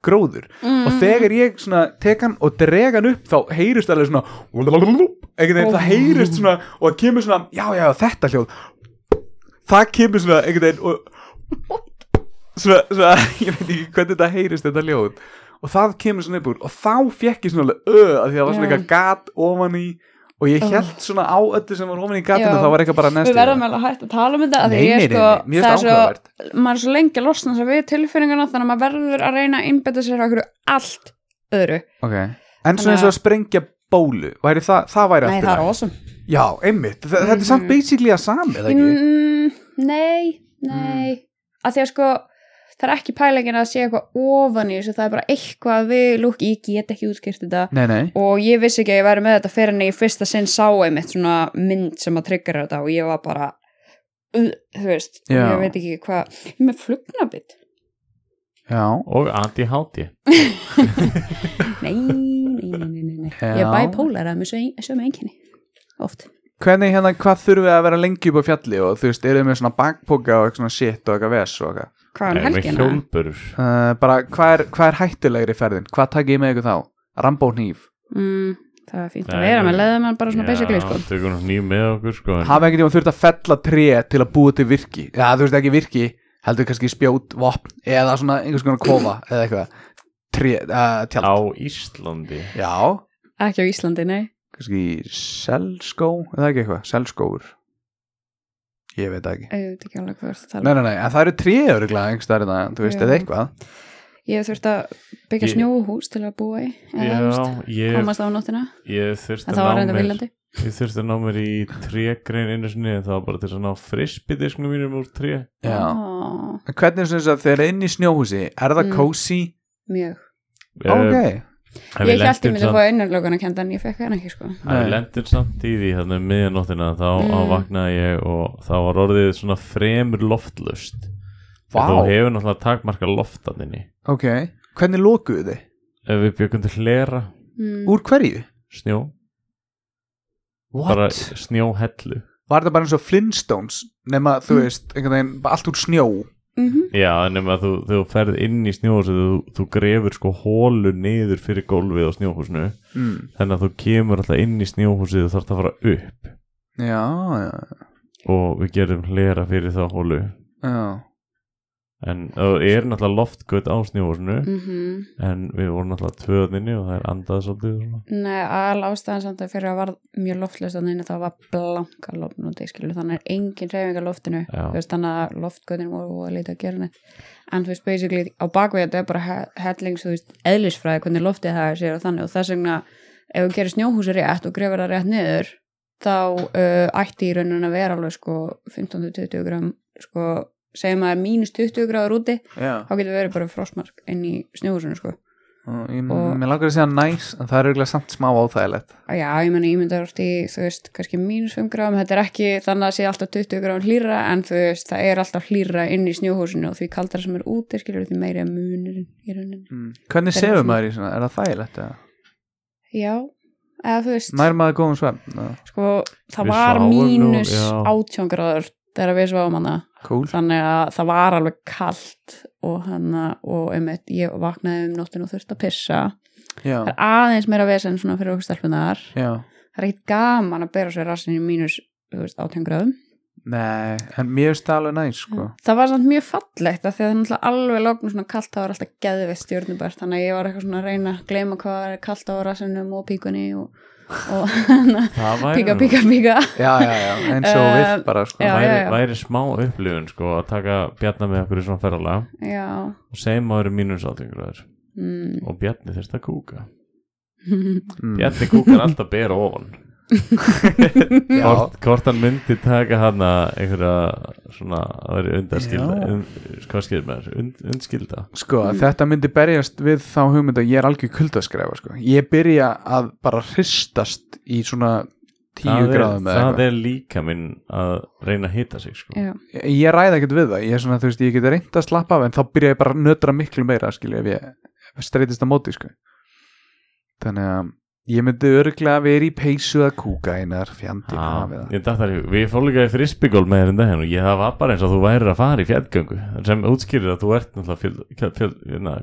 gróður og
Mm.
þegar ég svona tek hann og dreg hann upp þá heyrist alveg svona einhvern veginn, það heyrist svona og það kemur svona, já já þetta hljóð það kemur svona einhvern veginn og svona, svona ég veit ekki hvernig þetta heyrist þetta hljóð og það kemur svona upp úr og þá fekk ég svona alveg öð að því það var svona
Já.
eitthvað gat ofan í og ég held svona á öllu sem var ofan í gatinu
Já.
þá var eitthvað bara næstu
við verðum alveg að hætta að tala um þetta af því
Nei,
ég
nei,
er
nei,
sko,
nei, mér finnst
það er
það áhugavert.
svo maður er svo lengi að losna sér við tilfinninguna þannig að maður verður að reyna að einbetta sér að okkur allt öðru
okay. en svona
Þannig
eins og
að-
að sprengja bólu væri það, það væri
nei,
allt í
það er
lagi.
awesome
já, einmitt, Þa, þetta er samt basically að sami eða ekki?
mm, nei, nei
Mm.
af því að sko það er ekki pælingin að sé eitthvað ofan í þessu það er bara eitthvað við lúk ég get ekki útskýrt þetta
nei, nei
og ég vissi ekki að ég væri með þetta fyrir en ég fyrsta sinn sá einmitt svona mynd sem að tryggra þetta og ég var bara uh, þú veist,
Já.
ég veit ekki hvað ég er með flugnabit
Já,
og anti-háti
Nei, nei, nei, nei, nei. Ég
Já.
er bæpólar að með sömu- sömu einkenni Oft
hvernig hérna, hvað þurfum við að vera lengi upp á fjalli og þú veist, eruð þið með svona bakpoka og eitthvað svona shit og eitthvað ves og eitthvað Eh,
Hvað er um helgina?
hjólburur
uh, bara, hvað er, hvað er hættulegri ferðin? Hvað takk ég með ykkur þá? Rambó hníf
Mm, það er fínt að
Nei,
vera
nei.
með leðumann bara svona basically sko
tökum nú nýjum með okkur sko en-
hafa einhvern tíma þurft að fella tré til að búa til virki eða þú veist ekki virki, heldur kannski spjót vopn eða svona einhvers konar kofa eða eitthvað, tré, uh, tjald
á Íslandi
já,
ekki á Íslandi, nei
kannski selskó eða ekki eitthvað, selskóur ég veit það ekki
ég veit ekki alveg hvað þú ert að tala
Nei, nei, nei, en það eru tríður einhvers staðar en þú veist,
Já.
eða eitthvað
ég hef þurft að byggja
Ég-
snjóhús til að búa í eða, þú veist,
já, ég,
komast á nóttina
ég þurfti
en það var
að ná
reynda
mér
viljandi
ég þurfti að ná mér í trégrein einu sinni en það var bara til að ná frisbydisknum mínum úr tré
Já,
Ó,
En hvernig er þess að þeir eru inn í snjóhúsi er það
Mm.
kósi?
mjög
Ok,
ég held ég myndi að fá innarlókan að kenda en ég fekk hann ekki sko
Það
Nei.
við lendum samt í því hérna um miðjanóttina þá
Mm.
mm. ávaknaði ég og þá var orðið svona fremur loftlust
Vá.
Þú hefur náttúrulega takmarka loftaninni
ok Hvernig lokuðu þið?
Ef við byggum til hlera
mm.
Úr hverju?
snjó
What?
bara snjóhellu
Var það bara eins og Flintstones nema, þú veist, einhvern veginn bara allt úr snjó
Mhm.
Já, en ef að þú, þú ferð inn í snjóhúsið þú, þú grefur sko hólu niður fyrir gólfið á snjóhúsinu
mm.
þannig að þú kemur alltaf inn í snjóhúsið og þarf að fara upp
Já, já,
og við gerum hlera fyrir þá hólu
já
en það er náttúrulega loftgöt á snjóhúsinu
Mhm.
en við vorum náttúrulega tvöðinni og það er andað svolítið og svona.
Nei, al ástæðan samt að fyrir að var mjög loftlust þannig að það var blanka lofn og skilu, þannig er engin reyfingar loftinu
Já.
þú veist, þannig að loftgötin voru voru að leita að gera neitt en þú veist, basically, á bakvið þetta er bara he- helling, þú veist, eðlisfræði hvernig loftið það er sér og þannig og þess vegna ef þú gerir snjóhúsi rétt og grefur það rétt niður þá uh, ætti í rauninni að vera alveg sko 15-20 gram sko, segjum að það er mínus 20 gráður úti
Já,
þá getur verið bara frostmark inn í snjóhúsinu sko
og ég,
Og-
mér langar að segja næs en það er eiginlega samt smá áþægilegt
Já, ég meni, ég myndi að orti, þú veist, kannski mínus 5 grám, þetta er ekki þannig að sé alltaf 20 grám hlýra, en þú veist, það er alltaf hlýra inn í snjóhúsinu og því kaldara sem er úti, skilur því meiri að munurinn í rauninni.
mm. Hvernig
Þeir eru
sefur
svona-
maður í svona? Er það þægilegt? eða?
Já, eða þú veist,
Nær maður góðum svefn? eða?
sko, það
Við
var
sváum nú,
mínus
já.
18 gráður þegar við sváum hana,
Cool
þannig að það var alveg kalt og hana, og einmitt, ég vaknaði um nóttinu og þurfti að pissa.
Já,
Það er aðeins meira vesen svona fyrir okkur stelpunar.
já
Það er ekkit gaman að bera sér rassin í mínus, þú veist, 18 gráðum.
Nei, en mér finnst það alveg næs sko
það var samt mjög fallegt af því að það er náttúrulega alveg lóknum svona kalt það var alltaf geðveitt stjórnubært þannig að ég var eitthvað svona að reyna að gleyma hvað var kalt á rassinum og píkunni og, og
það væri,
píka,
nú-
píka, píka
Já, já, já, eins og
Eh,
við bara sko
já.
væri, væri smá upplifun sko að taka Bjarni með okkur í svona ferðalega
já
og segjum að eru mínus áttingraður
mm.
og Bjarni þurft að kúka
Mm.
Bjarni kúkar alltaf bera ofan
Já.
hvort, hvort hann myndi taka hana einhverja svona að vera
Já.
undarskilda un, hvað skilur maður, und, undskilda
Sko, þetta myndi berjast við þá hugmynd að ég er algjör kuldaskræfa, sko. Ég byrja að bara hristast í svona tíu
það, er,
gráðum eða
það
eitthvað.
er líka minn að reyna að hita sig sko.
já,
Ég ræða ekkert við það, ég er svona, þú veist, ég geti reynd að slappa af en þá byrja ég bara að nötra miklu meira, skilja, ef ég ef streytist að móti, sko. Þannig að ég myndi örglega vera í peysu að kúka einar fjandi
Já,
hafið það.
ég datt þar í- Við fórum líka í frisbygól með þér en daginn og ég það var bara eins og þú værir að fara í fjallgöngu sem útskýrir að þú ert náttúrulega fjöld, fjöld, fjöld, na,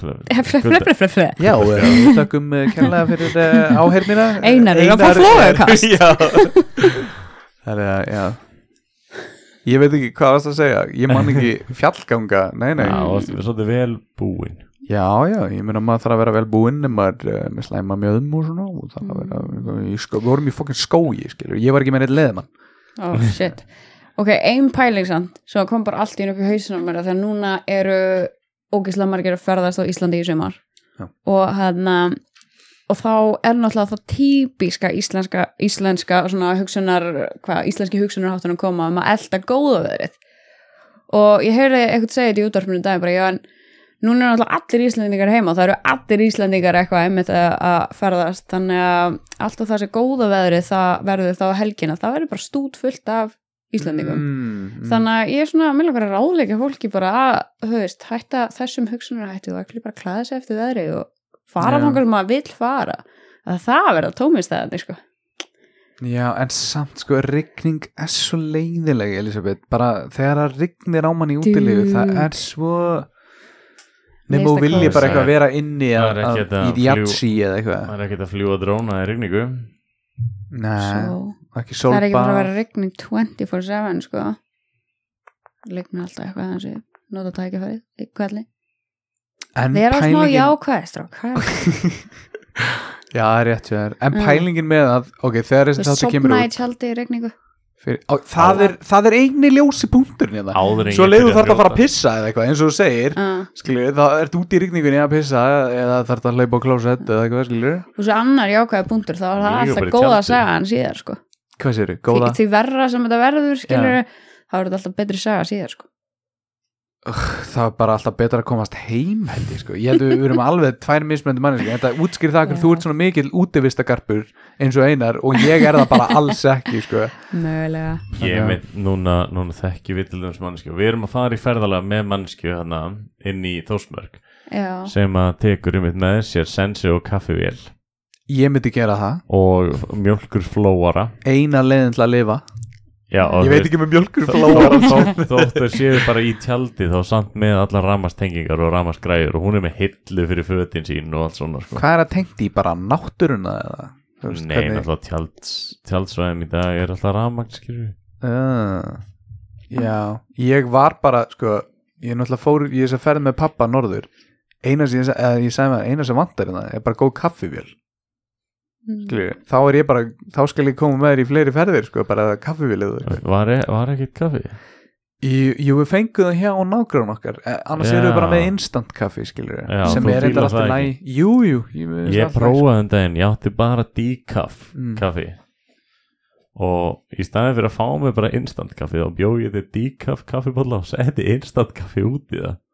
fre, fre,
fjöld,
fre, fre, fre
Já, eh, við takkum kærlega fyrir eh, áheyrnina. eh,
Einar er að fá flóðaukast.
Já, þannig að, já. Ég veit ekki hvað varst að segja, ég man ekki fjallganga, nei, nei.
Já, og það er svolítið vel búin
Já, já, ég meina maður þarf að vera vel búinn ef maður er uh, með slæma mjöðum og svona og þarf að vera,
Mm.
í sko, við vorum í fokkin skói skilur, ég var ekki með neitt leðmann
oh shit ok, ein pæling samt svo kom bara allt í einu upp í hausinu mér þegar núna eru ógislega margir að ferðast á Íslandi í sumar
Já.
og hérna og þá er náttúrulega það típiska íslenska, íslenska svona hugsunar hvað, íslenski hugsunarháttunum koma um að elda góða veðrið og ég heyrði eitthvað segja þetta í útvarpinu dag bara, já, en núna eru náttúrulega allir Íslendingar heima og það eru allir Íslendingar eitthvað einmitt að að ferðast þannig að alltaf það sem góða veðrið það verður þá á helgina, það verður bara stút fullt af Íslendingum Mm.
Mm.
þannig að ég er svona, mér langar að ráðleika fólki bara að, þú veist, hætta þessum hugsunarhætti og ekki bara klæða sér eftir veðri og fara
Já.
þangar sem maður vill fara að það verða tómistæðan sko.
Já, en samt sko, rigning er svo leiðileg Elisabeth, bara þegar það rignir á mann í útilegu,
Dude.
það er svo nema
Neista
þú vilji
kósí.
bara eitthvað vera inni
Það
að,
er
að,
ekki þetta
í jatsi eða eitthvað
Það er ekkert að fljúa dróna í rigningu
Nei,
Svo-
ekki
það er ekki bara að vera
sólbað
regning 24-7 sko leiknir alltaf eitthvað þannig að nota tækifærið í kvelli
En Mm,
þið er á smá
pælingin-
jákvæðistrák
Já, það er rétt hjá þér. En
Mm.
pælingin með að, ok, þegar þessi þáttu kemur
sopna í
út
tjaldi í regningu
fyrir, á, það, er, það er eigni ljósi punkturinn hérna.
Áður en
Svo
ég
leiður
byrja
þarf að fara að
brjóta.
pissa eða eitthvað, eins og þú segir
uh.
skilur, það ert úti í rigningunni að pissa eða þarf að hlaupa á klósett eða eitthvað, skilur
og svo annar jákvæði punktur þá er það
Ég er bara
alltaf
í
góða
tjaldi.
að segja hann síðar sko
Hvað séru,
því,
góða?
því verra sem þetta verður skilur þá er þetta alltaf betri saga síðar sko
Það er bara alltaf betra að komast heim held ég sko, ég held við erum alveg tvær mismöndi manni, sko, þetta útskýr það hvernig
Já.
þú ert svona mikill útivistagarpur eins og einar og ég er það bara alls ekki sko,
mögulega
Ég
Já.
mynd, núna, núna þekki við til þess mannskju Við erum að fara í ferðalega með mannskju hana, inn í Þósmörg
já,
sem að tekur um eitt með sér sensi og kaffivél
ég myndi gera það
og mjölkur flóara
eina leiðin til að lifa,
Já, og
ég
þú
veit ekki með mjölkur flóa
Þótt þau séu bara í tjaldi þá samt með allar ramastengingar og ramasgræður og hún er með hillu fyrir fötin sín og allt svona sko.
Hvað er það tengt í bara náttúruna eða? Þú veist,
Nei, náttúrulega tjalds, tjaldsvæðum í dag er alltaf ramagn skilju
Uh, já, ég var bara sko, ég náttúrulega fór ég þess að ferð með pappa norður eina sem, ég, sa- eða, ég sagði maður, eina sem vantar hérna er bara góð kaffivél
Mm.
skilju. þá er ég bara, þá skal ég koma með þér í fleiri ferðir, sko, bara kaffivélið sko.
Var, e- var ekkert kaffi?
Jú, jú, við fengum það hjá og nágrun okkar eh, annars
Já.
erum við bara með instant kaffi, skilju
Já,
sem er
þú fílar
eitthvað alltaf
það
næ Jú, jú, ég, mér finnst
Ég
alltaf
prófaði um daginn, ég átti bara decaf
Mm.
kaffi og í staði fyrir að fá mig bara instant kaffi þá bjóð ég þetta decaf kaffibólla og setti instant kaffi út í það
ekki-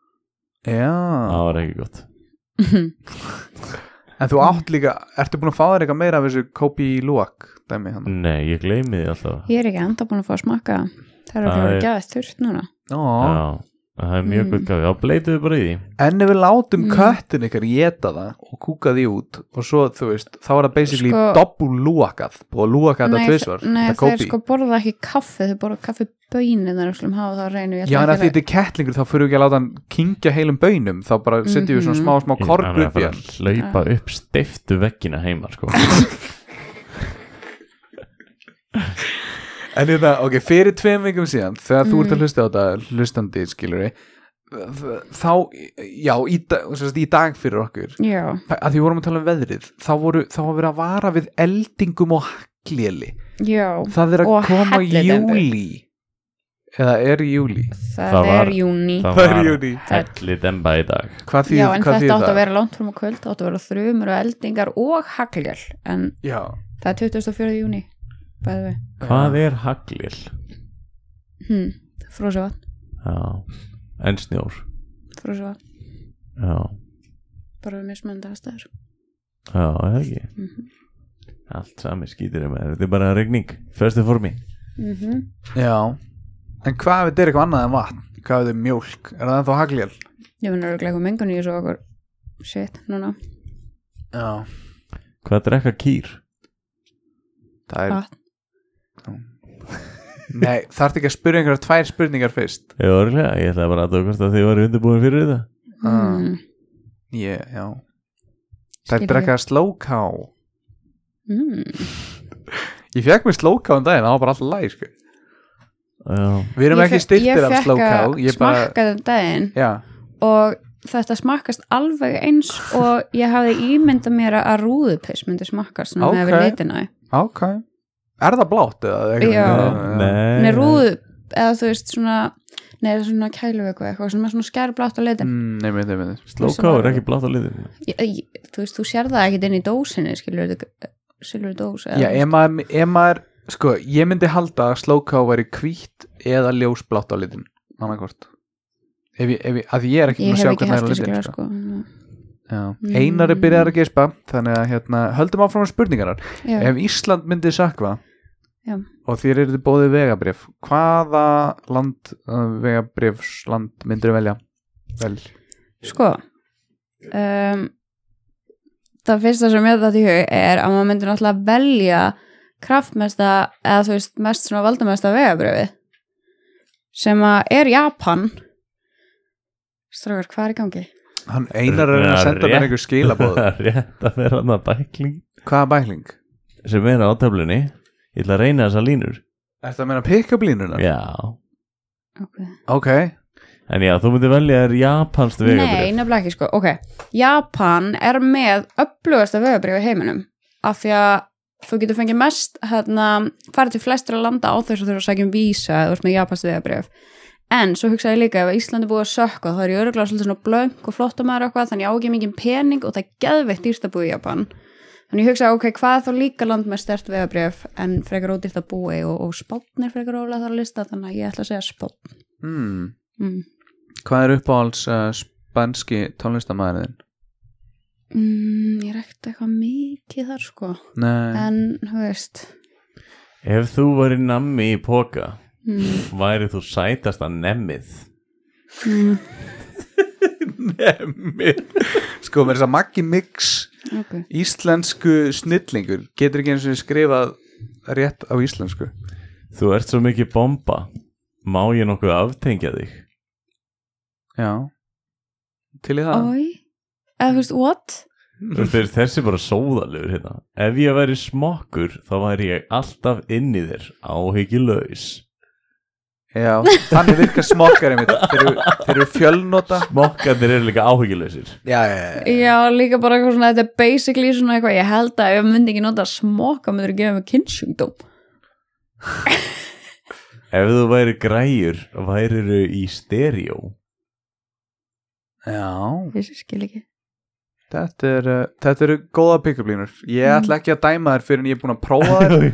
Já,
Það var ekki gott
en þú átt líka ertu búin að fá þér eitthvað meira af þessu Kopi Luwak dæmi hérna? hann
Nei, ég gleymi því alltaf
ég er ekki enda búin að fá að smakka það. það er
Það
ekki
er-
verið gæðist þurft núna
Já,
Já, það er mjög
Mm.
gott kaffi, þá bleituðu bara í því
En ef við látum
Mm.
köttin ykkar geta það og kúka því út og svo, þú veist, þá er það basically sko,
Sko-
dobbul lúakað og lúakað
Nei,
þetta tvisvar,
nei,
þetta
þeir
kópi
sko borða ekki kaffi þau borða kaffi bönni þannig að slum hafa það á reynu
Já, en að því þetta er kettlingur þá fyrir við ekki að láta hann kingja heilum bönum þá bara setjum við svona
Mhm.
smá, smá
Hann
korg
er að
upp í
fara
hann
að hlaupa upp steiftu veggina heima sko.
En þetta, ok, fyrir tveim vikum síðan þegar þú
Mhm.
ert að hlusta á þetta hlustandi skilur þá, já, í, dag- sem sagt, í dag fyrir okkur
Já,
að því við vorum að tala um veðrið þá voru, þá var verið að vara við eldingum og hagléli
já,
Það er að
Og
koma í
hellidembu.
júli Eða er í júli
það,
Það var-
er júni
Það
Það er
var
júní.
helli demba í dag
Hvað þýð,
Já, en
hvað
þetta
þýð
átt
það?
að vera langt frum á kvöld, átt að vera þrjumur og eldingar og hagljál, en
Já
það er 24. júni bæði við,
Hvað er haglil?
hm, frósa vatn
Já. En snjór
frósa vatn,
Já,
bara við mismönda aðstæður
já, er það ekki
Mhm.
Allt sami skýtir um Þetta er bara regning, fyrstu formi
mm
Já En hvað ef þetta er eitthvað annað en vatn? Hvað ef þetta er mjólk? Er það ennþá hagljál?
ég mun að regla eitthvað mengun í þessu okkur shit, núna,
Já
Hvað drekka kýr?
Það er
vatn
Nei, þarf ekki að spyrja einhverja tvær spurningar fyrst
Ég var orðlega, ég ætlaði bara að dókast að þið var undirbúin fyrir þetta
Ah.
mm,
Ég, já Það
Skil
er
ég.
drekka slóká
mm,
Ég fekk mér slóká um daginn, það var bara alltaf læg sko.
Já,
Við erum
Ég
ekki
fe-
styrtir af slóká
ég fekk að
bara-
smakka þetta um daginn
Já,
og þetta smakkast alveg eins og ég hafði ímyndað mér að rúðupiss myndi smakkast svona með við
Ókei.
litina
ok Er það blátt eða? eitthvað?
Já.
nei
Nei, rúðu, eða þú veist svona Nei, svona kæluvöku eitthvað sem er svona skærblátt á litin
Mm, Nei, nei, nei, nei
Slóká er ekki blátt á liðinu
ég, ég, Þú veist, þú sér það ekkit inn í dósinni skilur þetta, silfur dós eða-
Já, ef maður, ef maður sko, ég myndi halda að slóká væri hvítt eða ljósblátt á litin annarkort ef ég, ef ég, að ég er ekki búin að
Ég hef
sjá
ekki
hvernig það er
haft
á
þessi
litin
skilur
sko.
sko.
mm. Einar er byrjað að gespa þannig að hérna, höldum áfram með spurningarnar
Já,
ef Ísland myndi sakva
Já.
og þér eru bóðið vegabrif hvaða land uh, vegabrifsland myndir velja? Vel,
Sko um, Það fyrsta sem ég þetta í hug er að maður myndi náttúrulega velja kraftmesta eða þú veist mest svona valdamesta vegabröfi sem að er Japan Strákar, hvað er í gangi?
Hann einar er að reyna að senda
Rétt.
mér einhver skilabóð
rétt að vera hann að bækling
Hvaða bækling?
sem er á töflunni ég ætla að reyna þessa línur
Er það að meina pick-up línuna?
já,
okay.
Ok,
en já, þú myndir velja þér japanskt
Nei,
vegabrif
nefnilega ekki sko Ok, Japan er með upplugasta vegabrif í heiminum af því að þú getur fengið mest hérna, farið til flestra landa á þess að þurfa að sækja um vísa eða þú ert með japanst vegabrif en svo hugsaði ég líka ef Íslandi búið að sökka þá er ég öruglega svolítið svona blöng og flottamæður og eitthvað þannig ég á ekki mikið pening og það er geðveitt dýrt að búa í Japan þannig ég hugsaði ok, hvað er þá líka land með stert vegabrif en frekar ódýrt að búa í og, og spátn er frekar ólega þar að lista þannig að ég ætla að segja spátn
hmm.
mm.
hvað er uppáhalds uh, spanski tónlistamæðurinn?
Mm, ég rekti eitthvað mikið þar sko
Nei,
en, þú veist
ef þú væri nammi í póka
mm,
væri þú sætasta nemmið
mm,
sko með þess að Maggi Mix
mm, ok
íslensku snillingur getur ekki eins og skrifað rétt á íslensku
þú ert svo mikið bomba má ég nokkuð aftengja þig
Já, til í það
Oi, eða þú veist, what?
Þú veist, þeir- þessi er bara sóðalegur hérna ef ég væri smokkur þá væri ég alltaf inn í þér áhyggjulegs
Já, þannig virkar smokkar einmitt þeir eru, þeir eru fjölnota
smokkarnir eru líka áhyggjulegsir
Já, já, já, já.
Já, líka bara eitthvað svona, þetta er basically svona eitthvað, ég held að ef ég myndi ekki nota smoka, myndir að gefa mig kynnsjungdóm
ef þú væri græjur væriru í stereo
já
Þessi skil ekki
þetta, er, uh, þetta eru góða pick-up línur Ég
Mm.
ætla ekki að dæma þær fyrir en ég er búin að prófa þær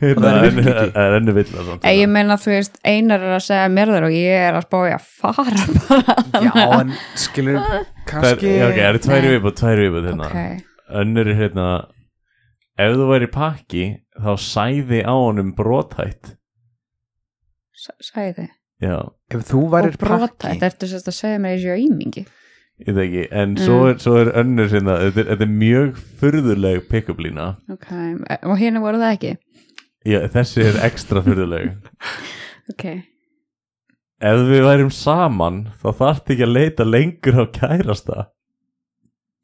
Hérna, það
Það
er
virkar ekki.
það er ennu villan samt
Eða Eh, ég meina, þú veist, einar er að segja mér þar og ég er að spá ég að fara bara
Já, en skilur
Það er-
kannski
já, ok, það eru tværi viðbúð, tværi viðbúð hérna
Ok,
önnur er hérna ef þú væri pakki þá sæði á honum brotætt
s- sagði þið
já,
Ef þú værir
Og brota,
pakki
þetta ertu sérst að segja mér þessi á ímingi
ég veit ekki en svo
Mm.
er, svo er önnur hérna þetta er, þetta er mjög furðuleg pick-up lína
Ok, og hérna voru það ekki
já, þessi er ekstra furðuleg
Ok,
ef við værim saman þá þarft ekki að leita lengur á kærasta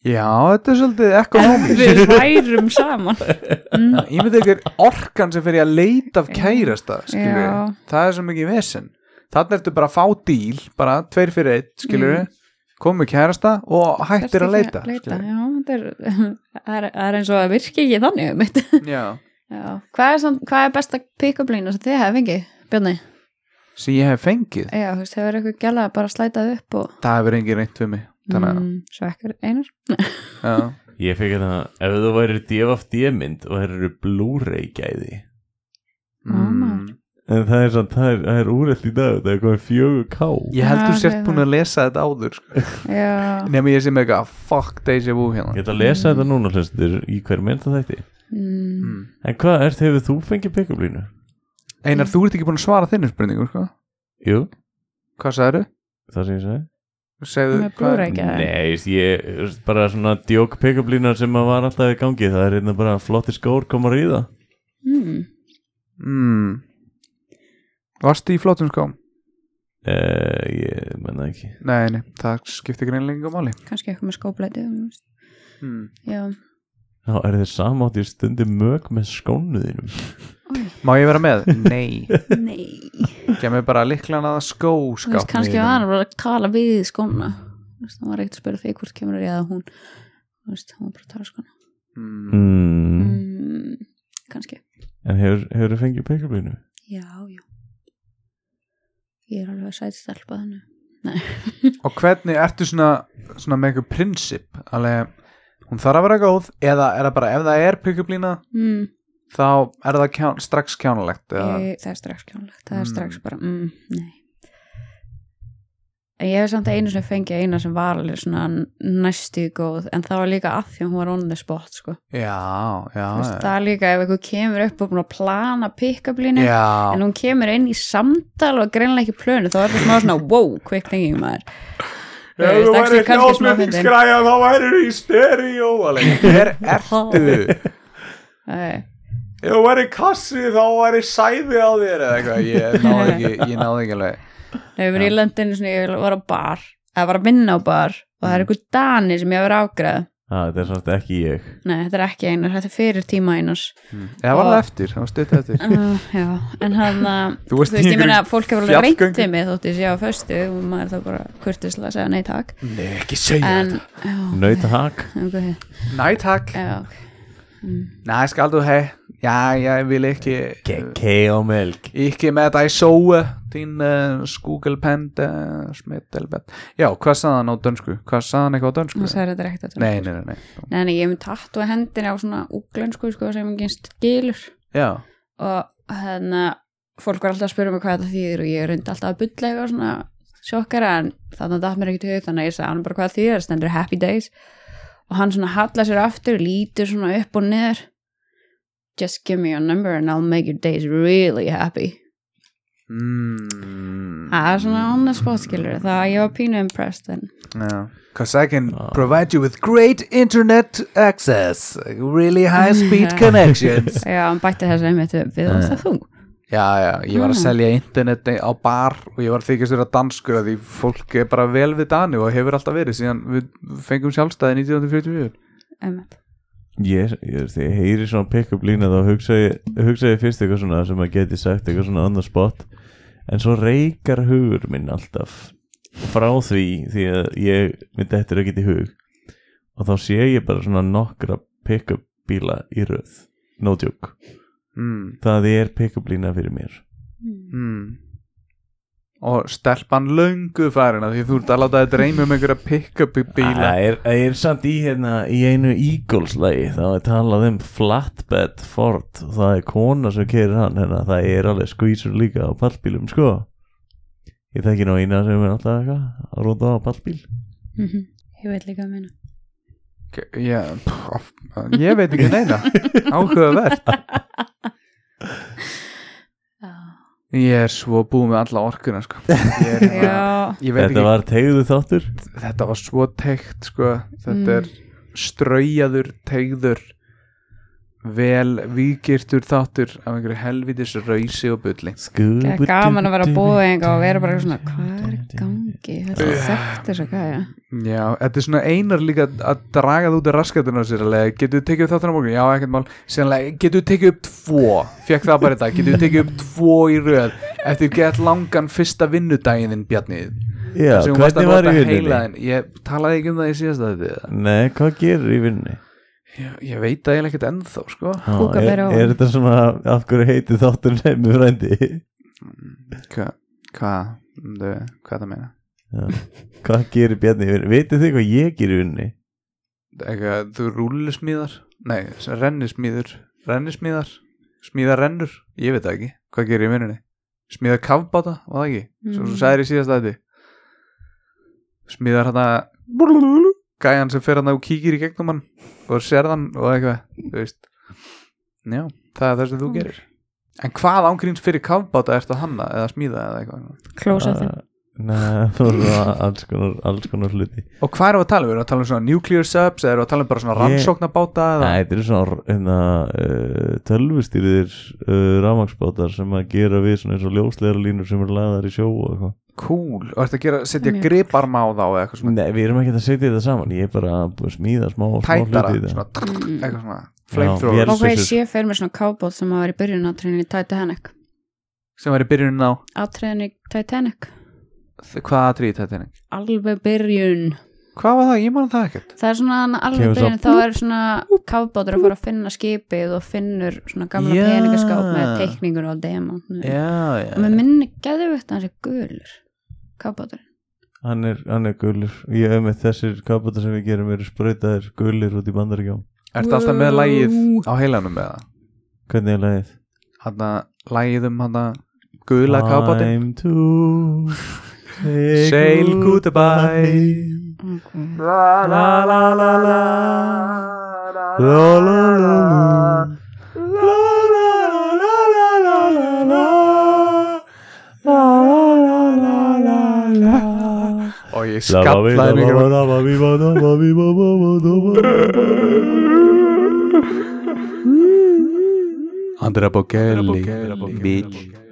Já, þetta er svolítið ekonomist
við værum saman mm.
Ég myndi ykkur orkan sem fyrir að leita af kærasta skilur
Já.
það er svo mikið vesen þannig ertu bara að fá díl bara tveir fyrir eitt, skilur við komu kærasta og hættir
Þarftu
að leita,
Mm. ekki leita.
skilurðu.
Já, þetta er, það er, það er eins og að virki ekki þannig um mitt
Já.
hvað, er samt, hvað er besta pick-up lína sem þið hefði fengið, Bjarni?
sem ég hef fengið,
Já, þú veist, hefur eitthvað gæla bara slætað upp og
það hefur engin reynt við mig þannig
mm, svo ekkert einar
að já.
ég fekk hérna ef þú værir DFD mynd og þeir eru Blu-ray gæði
mm.
en það er samt, það er, það er úrætt í dag það er komið fjögur ká
ég held
Já,
þú sért
ok,
búin að lesa þetta áður sko.
Já,
nema ég sem eitthvað fuck deja vu
ég
hérna
ætla að lesa þetta núna hlustur í hver mynd það þætti
mm,
mm.
en hvað ert hefur þú fengið pick-up línu?
Einar, þú ert ekki búin að svara þinni spurningu sko.
jú,
hvað sagðu?
það sem ég sagði
Segðu,
með blúra ekki
Nei, ég veist, ég, ég veist, bara svona djók pick-up lína sem að var alltaf í gangi það er hérna bara flottir skór koma að ríða
mm,
mm. varstu í flottum skám?
uh, ég menna ekki
Nei, nei, það skiptir greinlega máli
Kannski eitthvað með skóplæti þú veist.
mm.
Já,
Ná, er þið samátt í stundi mög með skónuðinum
Má ég vera með? Nei
nei
Gemmi bara líklan að skó
Þú veist, kannski var hann bara að tala við skóna Þú veist, hann var ekkert að spyrja þig hvort kemur ég eða hún Þú veist, hann var bara að tala skóna
mm.
mm.
mm, Kannski
En hefur, hefur þið fengið pick-up línu?
Já, já Ég er alveg að sæti stelpa þannig
Og hvernig ertu svona, svona með einhver prinsip Alveg, hún þarf að vera góð Eða er það bara, ef það er pickuplína
mm,
Þá er það kján, strax kjánulegt eða...
ég, Það er strax kjónlegt Það er
Mm.
strax bara, mm, nei En ég hef samt einu sem fengið eina sem var alveg svona næstu góð en það var líka að því að hún var on the spot sko.
Já, já
Þú veist,
Ah, já.
það er líka ef einhver kemur upp og búin að plana pick-up-línu
Já,
en hún kemur inn í samtal og greinlega ekki plönu þá er það smá svona wow, quick thinking maður Þú veist, actually kannski smá fyndin.
þá væri þú í stereo alveg. Hver ertu?
Nei,
Ef þú væri kassi þá væri sæði á þér eða eitthvað Ég náði ekki, ég náði ekki alveg
Nei, ég var í landinu svona, ég var á bar að var að vinna á bar og
Mm.
það er einhver dani sem ég hef verið ágræð
Ah, þetta er svona ekki ég
nei, þetta er ekki einar, þetta er fyrir tíma einars
eða var
Og-
það eftir, það var stutt eftir
uh, já, en hann
Þú
þú
veist, í
veist, ég meina að fólk hefur alveg reynt
fjallgöngu.
við mig þótt ég sé á föstu og maður er þá bara kurtislega að segja nei takk
nei, ekki segja
en,
þetta
já,
Nautahak
okay,
næ, takk,
já, ok.
næ, skal þú hei já, ég vil ekki
Kei og melk
ekki með þetta í sóu þín uh, skúgelpend uh, smittelbend, já, hvað sagði hann á dönsku hvað sagði hann eitthvað á dönsku
hann sagði þetta er ekkert að
nei, nei, nei, nei,
Nei, nei, ég hef með tattu að hendina á svona úglensku sko sem enginn skilur
já
og hérna fólk var alltaf að spyrja mig hvað þetta þýðir og ég reyndi alltaf að bulla eitthvað svona sjokkara en þannig að það mér ekki til hug þannig að ég sagði hann bara hvað það þýðir, það stendur happy days og hann svona hallar sér aftur, lítur svona upp og niður just give me your number and I'll make your days really happy
mm,
það er svona annars spotskilur það ég var pínu impressed en
because I can
Já.
provide you with
Great internet access, really high speed
Yeah.
connections.
já, hann bætti þessu einmitt upp við og það þú
já, já, ég var að
Mm.
selja interneti á bar og ég var að þykist vera danskur af því fólk er bara vel við Dani og hefur alltaf verið síðan við fengum sjálfstæði 1944
einmitt
Ég, ég, ég heyri svona pick-up lína þá hugsa ég, hugsa ég fyrst eitthvað svona sem að geti sagt eitthvað svona annað spott en svo reykar hugur minn alltaf frá því því að ég myndi eftir að geta í hug og þá sé ég bara svona nokkra pick-up bíla í röð no joke,
mm,
það er pick-up lína fyrir mér
mm. og stelpan löngu farin af því þú ert að láta þið dreyma um einhverja pick-up í bíla
Það er, það er samt í hérna í einu Eagles lagi þá er talað um flatbed Ford og það er kona sem kerir hann hérna, það er alveg skvísur líka á pallbílum sko ég þekki nú eina sem er alltaf eitthvað að rúnda á pallbíl
Mhm. ég veit líka að minna
Já, pff, ég veit ekki neina áhugavert ég er svo búið með alla orkuna sko. ég, er, hérna-
já
ég veit
Þetta
ekki,
var tegðu þáttur
þetta var svo teikt sko. þetta
Mm.
er straujaður, teigður vel vígirtur þáttur af einhverju helvitis rausi og bulli
Skúbu-
Það er gaman að vera að búa einhvað og vera bara svona, hvað er í gangi? Þetta er sagt þess að hvað, já.
Já, þetta er svona einar líka að draga það út af raskatunum á sér alveg, getur við tekið upp þáttan á morgun? Já, ekkert mál, sérlega, getur við tekið upp tvo, fekk það bara í dag, getur við tekið upp tvo í röð, eftir gett langan fyrsta vinnudaginn þinn Bjarnið
Já,
Þar sem hún varst að
hvernig var í
nota
vinnunni?
heilaðinn. Ég talaði ekki um það í síðasta þetta
Nei, hvað gerir í vinnunni?
ég, ég veit það eiginlega ekkert ennþá, sko
Á,
Kúka
Er,
meira á.
er þetta svona af hverju heiti þáttur nefnir frændi?
Hva, hvað, þau- hvað það meina?
Já. Hvað gerir Bjarni í vinnunni? Vitið þið hvað ég gerir í vinnunni?
Eitthvað, þú rúllismíðar? Nei, rennismíður, rennismíðar, smíða rennur, ég veit það ekki, hvað gerir ég í vinnunni? Smíða kafbáta, var það ekki? Svo þú sagðir í síðasta þetta Smíðar hérna Gæjan sem fer hann og kíkir í gegnum hann og sér hann og eitthvað þú veist Já, það er það sem þú gerir En hvað ángríns fyrir kafbáta ertu að hanna eða smíða eða eitthvað
Klósettin.
Ah, Nei, það var svona alls konar, alls konar hluti
Og hvað erum við að tala um? Erum við að tala um svona nuclear subs eða erum við að tala um bara svona
Ég-
rannsóknabáta eða
Nei, þetta er svona hérna, uh, tölvustýriðir uh, rafmagsbátar sem að gera við svona eins og ljósleira línur sem eru lagðar í sjó og eitthvað
cool og ertu að gera, setja
Mjög.
griparma á þá eða eitthvað svona
Nei, við erum ekki að setja þetta saman ég er bara að búið að smíða smá, smá
tætara,
hluti í þetta
svona trrr, eitthvað svona
Já,
flamethrower
Og hvað ég
Sessus.
sé fyrir mér svona cowboy sem að var í byrjun á treðinni Titanic.
sem var í byrjunin á
Á treðinni Titanic.
hvað aðrið þetta er
Alveg byrjun.
Hvað var það? Ég man það ekkert
Það er svona hann alveg
Kemur svo-
byrjun, þá er svona cowboy að fara að finna skipið og finnur svona gamla
Já.
peningaskáp með teikningur og demantnum.
Já,
Og með minni geðvögt að hans er gulur. Cowboy.
Hann er, hann er gulur Ég hef með þessir kapata sem við gerum eru sprautaðir gulir út í bandaríkjá
Ertu alltaf með lægið á heilanum með það?
Hvernig er lagið?
Hanna, lægið um hanna gula kápatinn
Time to say
Sail
goodbye
Okay.
La la la la la La la la la La la la la la la la La la la la la la
Og ég
Skallaði
skallaði mikið
mikið
Andra Bocelli Bitch